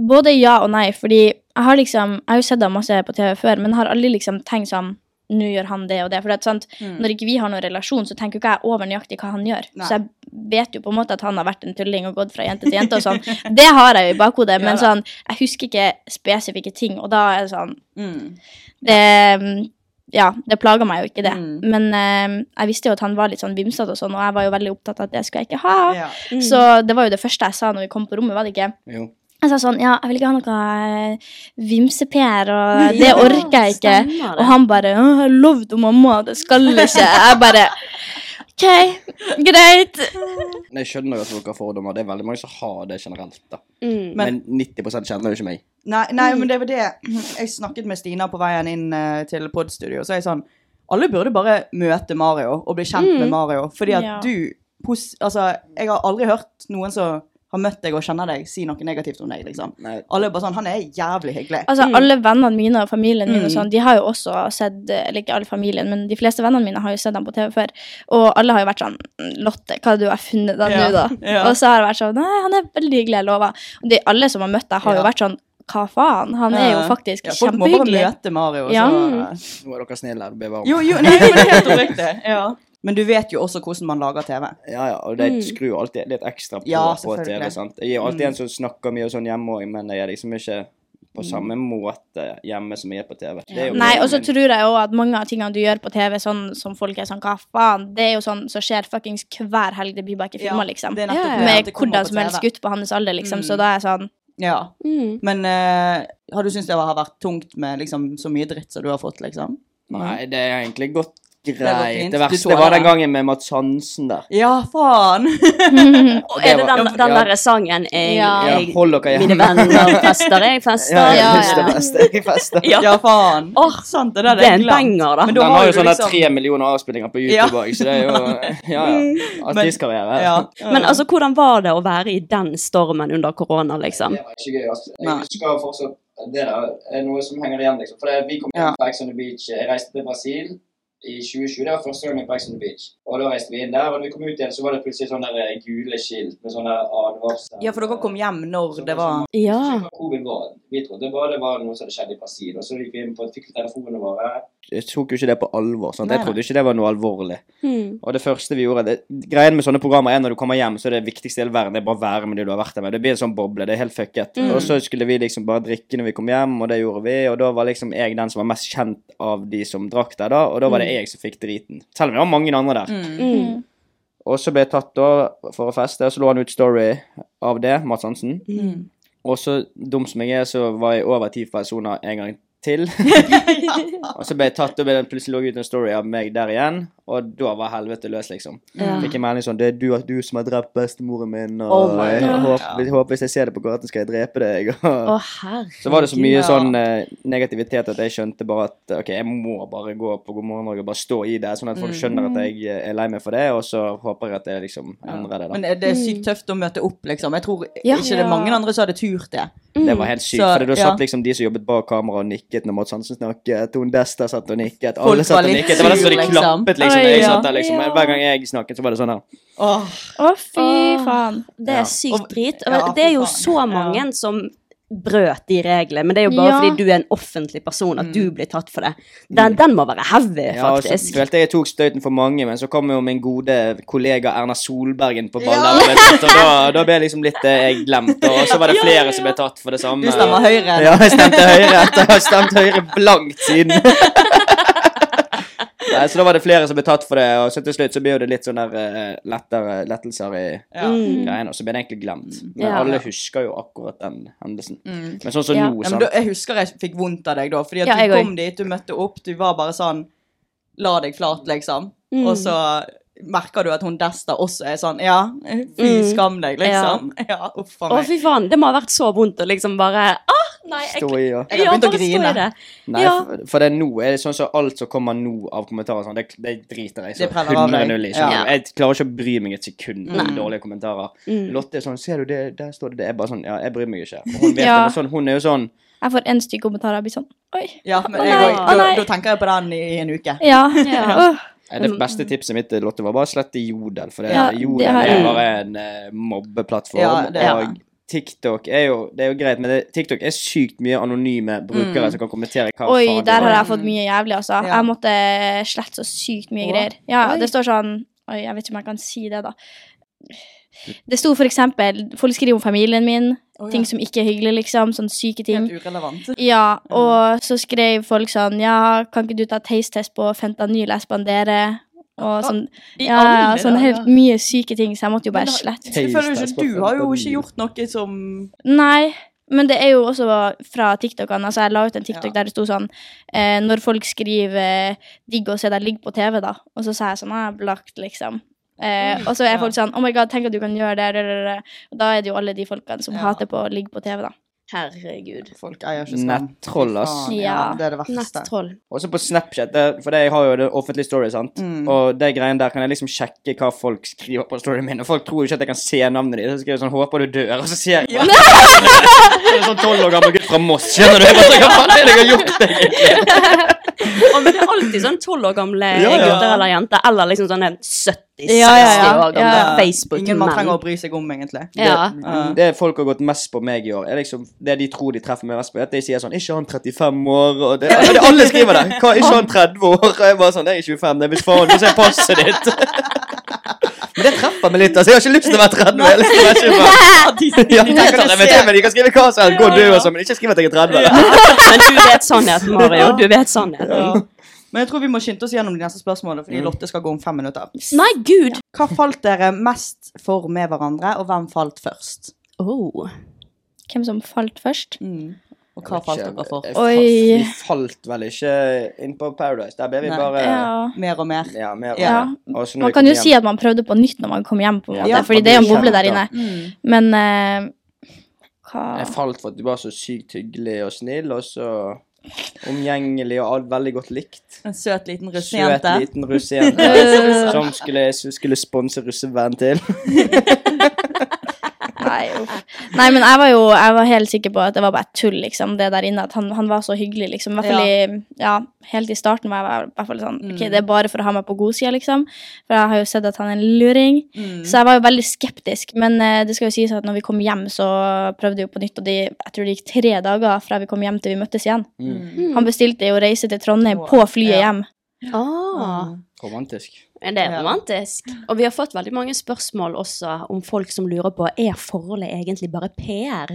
Både ja og nei, fordi jeg har liksom Jeg har jo sett ham masse på TV før, men har aldri liksom tenkt sånn Nå gjør han det og det. For det er sant,
Mm.
når ikke vi har noen relasjon, så tenker jo ikke jeg over nøyaktig hva han gjør.
Nei.
Så jeg vet jo på en måte at han har vært en tulling og gått fra jente til jente og sånn. <laughs> Det har jeg jo i bakhodet,
Ja
men
da.
sånn Jeg husker ikke spesifikke ting, og da er det sånn
Mm.
det, ja, det plager meg jo ikke, det.
Mm.
Men eh, jeg visste jo at han var litt sånn vimsete, og sånn, og jeg var jo veldig opptatt av at det skulle jeg ikke ha.
Ja. Mm.
Så det var jo det første jeg sa når vi kom på rommet, var det ikke?
Jo.
Jeg sa sånn Ja, jeg vil ikke ha noe eh, vimse-PR, og det orker jeg ikke.
Stemmer
Og
det.
han bare «Åh, Jeg lovde mamma at jeg skal ikke. Jeg bare OK, greit.
Jeg skjønner jo at folk har fordommer. Det er veldig mange som har det generelt. da.
Mm.
Men 90 kjenner jo ikke meg.
Nei,
Mm.
nei, men det var det Jeg snakket med Stina på veien inn eh, til podstudio, så jeg sånn Alle burde bare møte Mario og bli kjent med Mario, fordi at
Mm. Ja.
du pos Altså, jeg har aldri hørt noen som har møtt deg og kjenner deg, si noe negativt om deg. liksom. Alle er bare sånn Han er jævlig hyggelig.
Altså, Alle vennene mine og familien min og
Mm.
sånn, de har jo også sett eh, Eller ikke alle familien, men de fleste vennene mine har jo sett ham på TV før. Og alle har jo vært sånn Lotte, hva har du har funnet deg
Ja,
nå, da?
ja.
Og så har jeg vært sånn Nei, han er veldig hyggelig, jeg lover. Og de, alle som har møtt deg, har
Ja.
jo vært sånn Hva faen? Han er jo faktisk
Ja, folk må bare
kjempehyggelig.
møte Mario,
Ja. Mm.
så-
Nå er dere snille. Bevar
Jo,
<laughs>
jo, nei, men det er helt oppriktig. Ja. Men du vet jo også hvordan man lager TV.
Ja, ja, og det
Mm.
skrur jo alltid litt ekstra på,
Ja,
på
selvfølgelig.
TV. sant? Jeg er jo alltid
Mm.
en som snakker mye og sånn hjemme òg, men jeg er liksom ikke på samme måte hjemme som jeg er på TV. Det er jo
Nei,
greia
og så
min.
tror jeg jo at mange av tingene du gjør på TV, sånn som folk er sånn Hva faen? Det er jo sånn som skjer fuckings hver helg. Det blir bare ikke
Ja,
filma, liksom.
det er nettopp det, at
Med
det kommer på
hvordan som helst
TV.
gutt på hans alder, liksom.
Mm.
Så da er jeg sånn
Ja.
Mm.
Men eh, har du syntes det har vært tungt med liksom, så mye dritt som du har fått, liksom?
Nei, det er egentlig gått
Det har gått
greit.
fint.
Det
Du
verste
tåler
var den
det.
gangen med Mats Hansen der.
Ja,
<laughs>
faen!
Og er det
var-
den, den
Ja.
derre sangen jeg,
Ja.
jeg
Ja, hold dere hjemme.
Mine
<laughs>
venner fester, jeg fester.
Ja, jeg fester, fester, jeg fester.
Ja.
Ja, faen. Sant, det der
det er en
glemt.
banger, da.
Men
Den har jo
du
sånne
liksom-
tre millioner avspillinger på
Ja.
YouTube òg, så det er jo Ja, ja. Artistkarriere.
Men altså, hvordan var det å være i den stormen under korona, liksom?
Det var ikke gøy, altså. Jeg husker fortsatt det der er eh, noe som henger igjen, liksom. For det, vi kom inn
Ja.
fra Ex on the Beach. Jeg reiste til Brasil i 2020. Det var første gang jeg på Ex on the Beach. Og da reiste vi inn der, og når vi kom ut igjen, så var det plutselig sånne der eh, gule skilt med sånne advarsler.
Ja, for dere kom hjem når
sånn-
det var
Hva Covid var. Vi trodde bare det var noe som hadde skjedd i Brasil, og så gikk vi inn på fikk telefonene våre. Jeg tok jo ikke det på alvor. sant?
Nei, Hmm.
Jeg
nei.
trodde ikke det var noe alvorlig. Og det første vi gjorde det, Greien med sånne programmer er når du kommer hjem, så er det viktigste i hele verden det er bare å være med de du har vært der med. Det blir en sånn boble. Det er helt fucket.
Mm.
Og så skulle vi liksom bare drikke når vi kom hjem, og det gjorde vi. Og da var liksom jeg den som var mest kjent av de som drakk der da, og da var det
Mm.
jeg som fikk driten. Selv om det var mange andre der.
Mm.
Og så ble jeg tatt da for å feste, og så lå han ut story av det, Mads Hansen.
Mm.
Og så dum som jeg er, så var jeg over ti personer en gang
<laughs>
til. Og så ble jeg tatt, og ble det plutselig lå ut en story av meg der igjen. Og da var helvete løs, liksom.
Ja.
Fikk en melding sånn Det er du, du som har drept bestemoren min, og
Oh my
jeg
God.
håper, jeg håper hvis jeg ser deg på gaten, skal jeg drepe deg. Og
Å, herregud.
så var det så mye
Ja.
sånn eh, negativitet at jeg skjønte bare at OK, jeg må bare gå på God morgen Norge og bare stå i det, sånn at folk
Mm.
skjønner at jeg eh, er lei meg for det, og så håper jeg at jeg liksom endrer det, da.
Men det er
Mm.
sykt tøft å møte opp, liksom. Jeg tror
Ja.
ikke det er mange andre som hadde turt det.
Det var helt sykt.
Mm. Så,
for da
ja.
satt liksom de som jobbet bak kamera og nikket når Mads Hansen snakket. Hun Desta satt og nikket.
Folk var
Alle satt og
litt
nikket. Det var nesten så de
sur, liksom.
klappet, liksom.
Oi,
når Jeg
ja.
satt der, liksom.
Ja.
Hver gang jeg snakket, så var det sånn her.
Å, fy faen.
Det
Ja.
er sykt drit. Og
Ja,
Det er jo så mange som brøt de reglene, men det er jo bare
Ja.
fordi du er en offentlig person at
Mm.
du blir tatt for det. Den, den må være heavy,
Mm. Ja, og så
faktisk.
følte jeg jeg tok støyten for mange, men så kom jo min gode kollega Erna Solbergen på ball.
Ja.
der, vet du, Så da, da ble liksom litt eh, jeg glemt. Og så
<laughs>
var det flere som ble tatt for det samme.
Du stemmer Høyre.
Ja, jeg stemte Høyre. Jeg har stemt Høyre
<laughs>
blankt siden. Nei, så da var det flere som ble tatt for det, og så til slutt så blir jo det litt sånn der eh, lettere lettelser i
Ja.
greiene, og så ble det egentlig glemt. Men
Ja.
alle husker jo akkurat den hendelsen.
Mm.
Men sånn som
Ja.
nå,
Ja, men
sant.
da, jeg husker jeg fikk vondt av deg da, fordi at
Ja, jeg
du kom
også.
dit, du møtte opp, du var bare sånn La deg flat, liksom.
Mm.
Og så merker du at hun Desta også er sånn Ja, fy
Mm.
skam deg, liksom. <laughs> Ja, uff a
Å,
meg.
fy faen. Det må ha vært så vondt å liksom bare ah, Nei, jeg,
Stå i og
Jeg har begynt å
bare stå i
grine.
det.
Nei,
Ja.
for- for det er nå er det sånn som alt som kommer nå av kommentarer, sånn, det, det driter jeg så
Det preller av deg.
100-0 i. skjønner
Ja.
du? Jeg klarer ikke å bry meg et sekund om
Nei.
dårlige kommentarer.
Mm.
Lotte er sånn 'Ser du det? Der står det det.' Jeg er bare sånn Ja, jeg bryr meg ikke. Og Hun, vet
Ja.
det, men sånn, hun er jo sånn
Jeg får én stygg kommentar og blir sånn Oi.
Ja, men
Å
jeg,
nei,
også-
å
da,
nei.
da tenker jeg på den i, i en uke.
<laughs> Ja. Åh.
Nei, Det beste tipset mitt Lotte, var bare slett i Jodel. For det,
Mm. Ja, det
Jodel
har
er
jeg.
bare en eh, mobbeplattform.
Ja, det er
og TikTok er jo, det er jo greit, men det, TikTok er sykt mye anonyme brukere
Mm.
som kan kommentere hva
Oi, der
faen det
har
var.
jeg fått mye jævlig, altså.
Ja.
Jeg måtte slette så sykt mye
Å,
greier. Ja,
oi.
det står sånn Oi, jeg vet ikke om jeg kan si det, da. Det sto for eksempel Folk skriver om familien min,
Å, ja.
ting som ikke er hyggelig, liksom. Sånn syke ting.
Urelevant.
Ja, og så skrev folk sånn Ja, kan ikke du ta taste-test på fentanyl jeg spanderer? Og sånn,
i
ja, ja,
alle
sånn
dager.
helt mye syke ting, så jeg måtte jo bare slette.
Jeg føler jo ikke, du har jo ikke gjort noe som
Nei, men det er jo også fra TikTokene. Altså, jeg la ut en TikTok der det sto sånn eh, Når folk skriver eh, 'digg å se deg ligge på TV', da, og så sa jeg sånn «Ah, 'blakt', liksom. Eh, og så er folk sånn 'oh my god, tenk at du kan gjøre det', det, det, det». Og da er det jo alle de folkene som hater på å ligge på TV, da.
Herregud.
Folk eier ikke skam.
Nettroll, ass.
Faen, ja. Det er det verste.
Også på Snapchat, det, for det, jeg har jo det offentlige story, sant?
Mm.
Og de greiene der kan jeg liksom sjekke hva folk skriver på storyen min, og folk tror jo ikke at jeg kan se navnet ditt. Så skriver jeg sånn 'Håper du dør', og så ser jeg <laughs> bare Så er det Sånn tolv år gammel gutt fra Moss, skjønner du? Jeg bare, Hva faen er det jeg har gjort, egentlig?
Og men det er alltid sånn 12 år gamle
Ja, ja.
gutter eller jenter, eller liksom sånn 70-60
Ja, ja, ja.
år gamle
Ja. Ingen man
Facebook-menn.
trenger å bry seg om, egentlig.
Ja.
Mm.
Det, det folk har gått mest på meg i år, er liksom det de tror de treffer meg mest på, er at de sier sånn 'Ikke han 35 år', og det, det, alle skriver det. Hva, 'Ikke han 30 år', og jeg bare sånn 'Jeg er 25, det er hvis faen, få se passet ditt'. <laughs> Men det treffer meg litt, altså. Jeg har ikke lyst til å være 30. Jeg har lyst til å være 25. Ja, de kan ta det med til, men de kan skrive hva som helst, gå og dø og sånn, men ikke skriv at jeg er 30. da.
Men du vet sannheten, Mario. Du vet sannheten.
Men jeg tror vi må skynde oss gjennom de neste spørsmålene,
Mm.
fordi Lotte skal gå om fem minutter.
Nei, gud!
Hva falt dere mest for med hverandre, og hvem falt først?
Oh.
Hvem som falt først?
Mm.
Og hva falt dere for?
Jeg
Oi.
fa- Vi falt vel ikke inn på Paradise. Der ble vi
Nei.
bare
Ja.
Mer og mer.
Ja, mer
Ja.
Og så når
Man kan
vi kom
jo
hjem-
si at man prøvde på nytt når man kom hjem, på en måte,
Ja,
fordi
man
det er jo en
blir
boble der inne.
kjent,
Men eh, hva
Jeg falt for at du var så sykt hyggelig og snill, og så omgjengelig og alt veldig godt likt.
En søt liten
Søt
russejente.
liten russejente som skulle, som skulle sponse russevennen til.
Nei, uff. Nei, men jeg var jo jeg var helt sikker på at det var bare tull, liksom, det der inne. At han, han var så hyggelig, liksom. I hvert fall i, ja, helt i starten var jeg i hvert fall
Mm.
sånn Ok, det er bare for å ha meg på godsida, liksom. For jeg har jo sett at han er en luring.
Mm.
Så jeg var jo veldig skeptisk. Men eh, det skal jo sies at når vi kom hjem, så prøvde vi jo på nytt, og de, jeg tror det gikk tre dager fra vi kom hjem til vi møttes igjen.
Mm.
Han bestilte jo reise til Trondheim
Wow.
på flyet hjem.
Ah.
Romantisk.
Men Det er
Ja.
romantisk. Og vi har fått veldig mange spørsmål også om folk som lurer på er forholdet egentlig bare PR.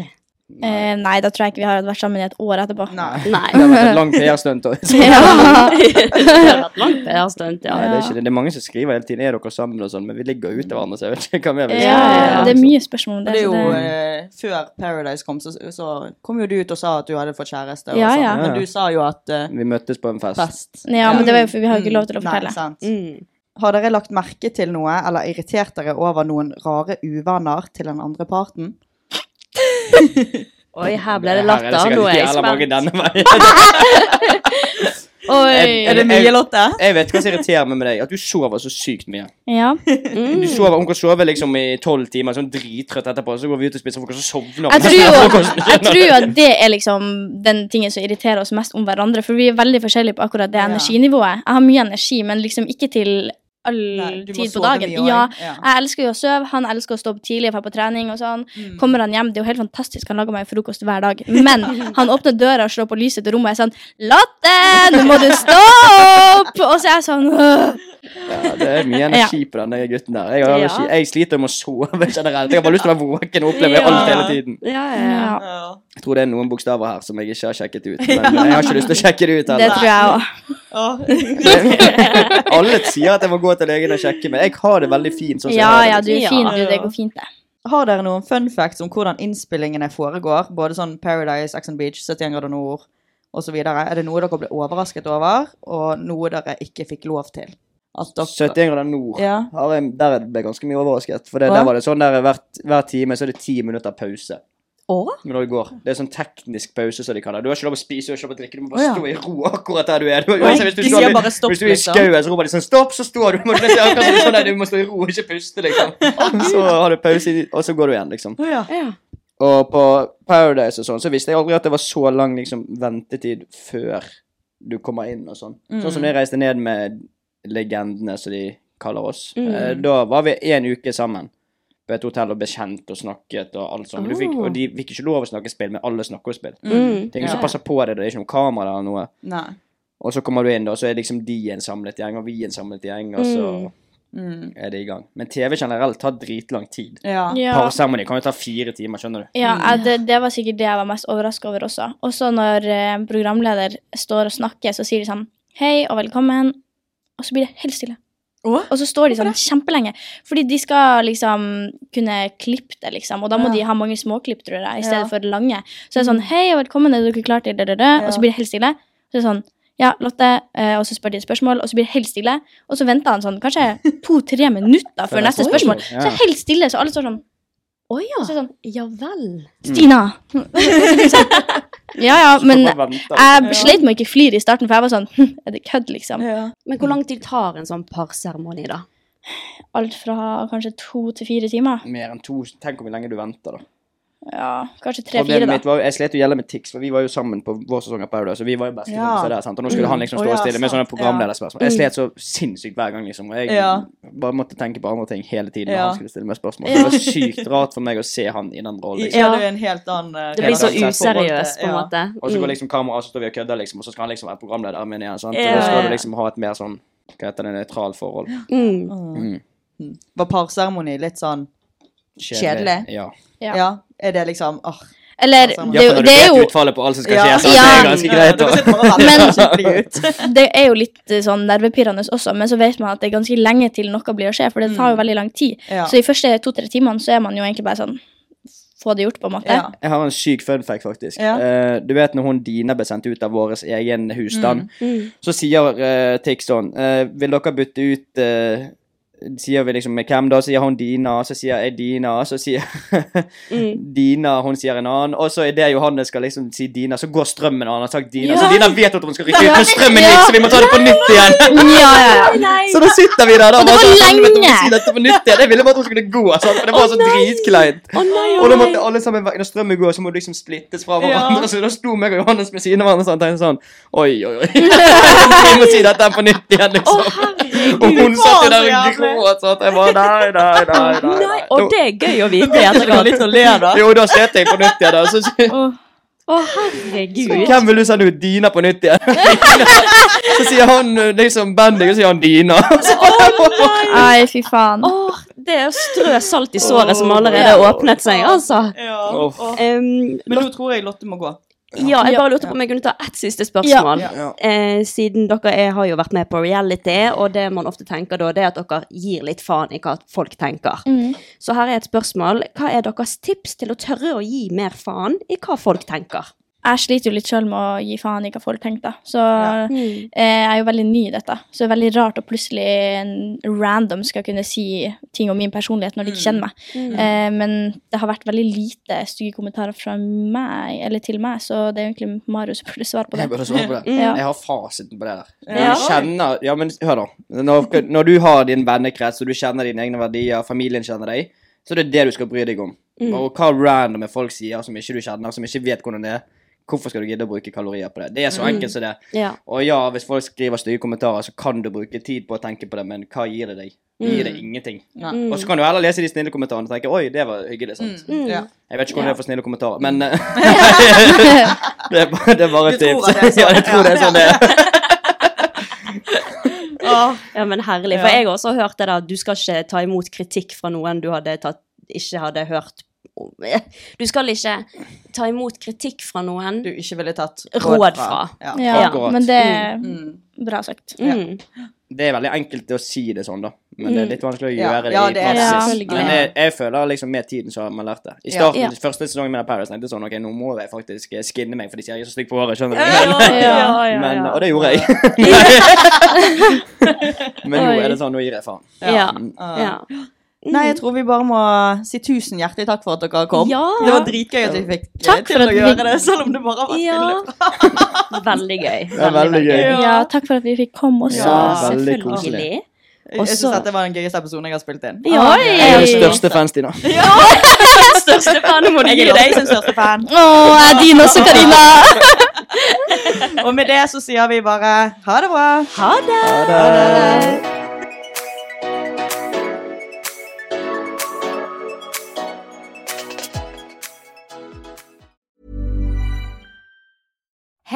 Eh, nei, da tror jeg ikke vi har vært sammen i et år etterpå.
Nei. <laughs>
Nei. <laughs>
Det har vært et langt PR-stunt. og-
<laughs> Ja. Eh,
Det har vært langt PR-stunt,
Nei,
ja.
det er ikke det. Det er mange som skriver hele tiden 'Er dere sammen?' og sånn, men vi ligger jo ute hverandre, så jeg vet ikke hva mer vi
Ja,
skal
det er mye spørsmål om
Og
det.
det
så
er jo,
det-
eh, Før Paradise kom, så, så kom jo du ut og sa at du hadde fått kjæreste. Og
Ja,
sånn.
ja.
Men du sa jo at eh,
Vi møttes på en fest.
fest.
Ja, men det var jo for vi har jo ikke lov til å
Mm. Nei,
fortelle.
sant.
Mm.
Har dere lagt merke til noe, eller irritert dere over noen rare uvaner til den andre parten?
<laughs>
Oi, her ble det
Her er det
latter.
sikkert
Nå er jeg
jævla mange
spent.
denne veien.
Oi.
Er det mye,
Lotte?
Jeg vet hva som irriterer meg med deg, at du sover så sykt mye.
Ja.
Du
Mm.
sover, Hun kan sove liksom i tolv timer, sånn drittrøtt etterpå, så går vi ut og spiser frokost, og så sovner <laughs>
Jeg tror, jo, jeg tror jo at det er liksom den tingen som irriterer oss mest om hverandre, for vi er veldig forskjellige på akkurat det
Ja.
energinivået. Jeg har mye energi, men liksom ikke til all
Nei, du må
tid på
sove
dagen.
mye også.
Ja,
Ja.
jeg elsker jo å sove, han elsker å stå opp tidlig og dra på trening og sånn.
Mm.
Kommer han hjem, det er jo helt fantastisk, han lager meg frokost hver dag. Men han åpner døra og slår på lyset til rommet og er sånn 'Latte, nå må du stå opp!' Og så er jeg sånn «Åh».
Ja, det er mye energi på den der gutten der. Jeg, har
Ja.
energi. jeg sliter med å sove generelt. Jeg har bare lyst til å være våken og oppleve
Ja.
alt hele tiden.
Ja, ja.
ja.
Jeg tror det er noen bokstaver her som jeg ikke har sjekket ut, men jeg har ikke lyst til å sjekke det ut
Det tror
heller.
jeg òg.
<laughs> Alle sier at jeg må gå til legen og sjekke, men jeg har det veldig fint sånn som
Ja,
jeg
ja,
har
du
det. liksom.
er fin, du. Det går fint, det.
Har dere noen fun facts om hvordan innspillingene foregår? Både sånn Paradise, Ex on Beach, 71 grader nord osv. Er det noe dere ble overrasket over, og noe dere ikke fikk lov til? At dere
71 grader nord.
Ja.
Har jeg, der ble jeg ganske mye overrasket. For det,
Hva?
der var det sånn der hver, hver time så er det ti minutter pause.
Å?
Når du går. Det er sånn teknisk pause, som de kaller det. Du har ikke lov å spise, du har ikke lov å drikke, du
Å,
må bare
ja.
stå i ro akkurat der du er. Du,
Oi,
uansett, hvis du
de
står
sier
i-
bare stopp,
Hvis du er i
liksom.
skauen, så roper de sånn stopp, så står du. Du må, du nesten akkurat som sånn, der, du må stå i ro og ikke puste,
<laughs>
liksom. Og så har du pause, i- og så går du igjen, liksom.
Å ja.
Ja.
Og på Paradise og sånn, så visste jeg aldri at det var så lang liksom, ventetid før du kommer inn og sånn. Sånn som når jeg reiste ned med legendene, som de kaller oss. Eh, Da var vi en uke sammen på et hotell og ble kjent og snakket og alt sånt. Men Du fikk,
Oh.
og de fikk ikke lov å snakke spill, men alle snakker spill.
Mm.
Det er ingen som passer på deg, det er ikke noe kamera eller noe.
Nei.
Og så kommer du inn, da, og så er liksom de en samlet gjeng, og vi en samlet gjeng, og så
Mm.
er det i gang. Men TV generelt tar dritlang tid.
Ja.
Parseremoni kan jo ta fire timer, skjønner du.
Ja, jeg, det, det var sikkert det jeg var mest overraska over også. Også når eh, programleder står og snakker, så sier de sånn Hei og velkommen. Og så blir det helt stille.
Å?
Og så står de sånn kjempelenge. Fordi de skal liksom kunne klippe det, liksom. Og da må
Ja.
de ha mange småklipp, tror jeg, i stedet
Ja.
for lange. Så det er sånn Hei og velkommen, er dere klare til det, det, det? Og
Ja.
så blir det helt stille. Så det er sånn ja, Lotte, eh, og så spør de et spørsmål, og så blir det helt stille. Og så venter han sånn kanskje to-tre minutter
Før <laughs>
før neste
neste
spørsmål.
spørsmål,
Så
ja.
helt stille, så alle står sånn
Å ja. Så er det sånn, ja vel.
Stina! ja
Mm.
ja, men eh,
Så bare venter.
jeg sleit med å ikke flire i starten, for jeg var sånn hm, Er det kødd, liksom?
Men hvor lang tid tar en sånn parseremoni, da?
Alt fra kanskje to til fire timer.
Mer enn to. Tenk om hvor lenge du venter, da.
Ja, kanskje tre-fire,
Problemet
da.
mitt var, jo- Jeg slet jo gjelde med Tix, for vi var jo sammen på vår sesong av Paradise. Og vi var jo beste
Ja.
kompiser der, sant? Og nå skulle
Mm.
han liksom
Å,
stå
ja,
stille med
sant.
sånne programlederspørsmål. Jeg slet så sinnssykt hver gang, liksom. Og jeg
Ja.
bare måtte tenke på andre ting hele tiden når
Ja.
han skulle stille meg spørsmål.
Ja.
Det var sykt rart for meg å se han i den rollen. liksom.
Ja, det er en helt annen eh,
Det blir så
Helt annerledes
useriøst, på en
Ja.
måte.
Og så
Mm.
går liksom kameraet, så står vi og kødder, liksom, og så skal han liksom være programleder min igjen. sant?
Ja,
Og da skal
ja, ja.
du liksom ha et mer sånn Hva heter det, nøytralt forhold.
Mm.
Mm.
Var parseremoni litt sånn
Kjedelig,
kjedelig?
ja.
ja. Er det liksom åh
Eller
parseremoni.
det, er jo- det er jo
utfallet på alt som skal
Ja.
skje, så det er ganske greit.
Ja, liksom
da.
<laughs>
Men <laughs> det er jo litt eh, sånn nervepirrende også, men så vet man at det er ganske lenge til noe blir å skje, for det tar jo veldig lang tid.
Mm. Ja.
Så de første to-tre timene så er man jo egentlig bare sånn Få det gjort, på en måte.
Jeg har en syk fun fact, faktisk.
Ja.
Eh, du vet når hun Dina ble sendt ut av vår egen husstand,
Mm.
så sier eh, Tix sånn eh, Vil dere bytte ut eh, Sier vi liksom med hvem da? Sier hun Dina, så sier jeg Dina, så sier <laughs>
Mm.
Dina, hun sier en annen. Og så idet Johanne skal liksom si Dina, så går strømmen, og han har sagt Dina.
Ja.
Så Dina vet at hun skal rykke ut,
Ja.
men strømmen
Ja.
gikk, så vi må ta det på nytt igjen.
<laughs> Ja, ja, ja. Nei.
Så da sitter vi der, da.
Og det
bare
var
sånn,
lenge.
vet du, hun sier dette på nytt igjen. Jeg ville bare at hun skulle gå, sant? for det var så dritkleint.
å
og da
nei.
måtte alle sammen, når strømmen går, så må du liksom splittes fra
Ja.
hverandre. <laughs> Så da sto meg og Johannes ved siden av hverandre sånn, tenkte sånn Oi, oi,
<laughs>
oi. Vi må si dette her på nytt igjen, liksom. og hun satt jo der og gråt. sånn. Jeg bare Nei, nei, nei. nei, nei.
Og det er gøy å
<laughs>
vite i
Nå-
etterkant.
Jo, da slet jeg på nytt igjen. da. Så, så,
Å, herregud.
hvem vil du sende ut? Dina på nytt igjen? <laughs> så sier han eh, liksom Bendik, og så sier han Dina. <laughs>
Nei, fy faen.
det er å strø salt i såret som allerede har åpnet seg, altså. Em,
Men nå tror jeg Lotte må gå.
ja, jeg bare lurte på om jeg kunne ta ett siste spørsmål.
Ja. Ja.
Eh, siden dere er, har jo vært med på reality, og det man ofte tenker da, det er at dere gir litt faen i hva folk tenker.
Mm.
Mhm.
Så her er et spørsmål. Hva er deres tips til å tørre å gi mer faen i hva folk tenker?
Jeg sliter jo litt sjøl med å gi faen i hva folk tenker, da. Så eh, jeg er jo veldig ny i dette. Så det er veldig rart å plutselig en random skal kunne si ting om min personlighet når de ikke kjenner meg.
Mm.
Eh, men det har vært veldig lite stygge kommentarer fra meg, eller til meg, så det er egentlig Marius som burde svare på det.
Jeg burde svare på det.
Ja.
Jeg har fasiten på det der. Når
Ja.
Du kjenner, ja, men hør da. Når, når du har din vennekrets, og du kjenner dine egne verdier, familien kjenner deg, så det er det du skal bry deg om.
Mm.
Og hva randomme folk sier som ikke du kjenner, som ikke vet hvordan det er, hvorfor skal du gidde å bruke kalorier på det? Det er så
Mm.
enkelt som det.
Ja.
Og ja, hvis folk skriver stygge kommentarer, så kan du bruke tid på å tenke på det, men hva gir det deg? Det gir
Mm.
deg ingenting.
Nei.
Og så kan du heller lese de snille kommentarene og tenke 'oi, det var hyggelig', sant.
Mm. Mm. Ja.
Jeg vet
Ja.
ikke hvordan <laughs> det er for snille
<laughs>
kommentarer, men eh, det, er bare, det er bare et
Du tror at det
tips.
er sånn.
<laughs> ja, jeg tror det er sånn det er.
Ja, men herlig. For
Ja.
jeg har også hørt det der du skal ikke ta imot kritikk fra noen du hadde tatt, ikke hadde hørt om. Du skal ikke ta imot kritikk fra noen
du ikke ville tatt
råd fra.
Ja,
Akkurat.
men det er bra sagt.
Det er veldig enkelt å si det sånn, da. Men det er litt vanskelig å
Ja.
gjøre det
Ja,
i
det er det.
praksis.
Selvfølgelig.
Men jeg, jeg føler liksom med tiden så har man lært det. I
Ja.
starten,
Ja.
første sesongen med Paradise tenkte jeg sånn OK, nå må jeg faktisk eh, skinne meg, for de sier jeg er så stygg på håret. Skjønner du?
Ja, ja, ja, ja,
Men,
ja.
og det
<laughs>
gjorde jeg. <laughs> Men nå er det sånn, nå gir jeg faen.
Ja.
Mm.
Ja. Mm. Nei, jeg tror vi bare må si tusen hjertelig takk for at dere kom.
Ja.
Det var dritgøy at vi fikk eh,
Takk
til
for
å
at vi
gjøre
fikk-
det, selv om det bare har vært
Ja. Veldig gøy. Veldig,
Ja. takk for at vi fikk komme også.
Ja,
veldig
selvfølgelig.
koselig.
Jeg
Også-
synes at det var den gøyeste episoden jeg har spilt inn.
Ja. Oi!
Jeg er den største fan, Stina.
Største fan må du
Jeg
gi
er
deg.
deg som største
<laughs>
fan.
Å, jeg er din også, Karina.
Og med det så sier vi bare ha det bra.
Ha det.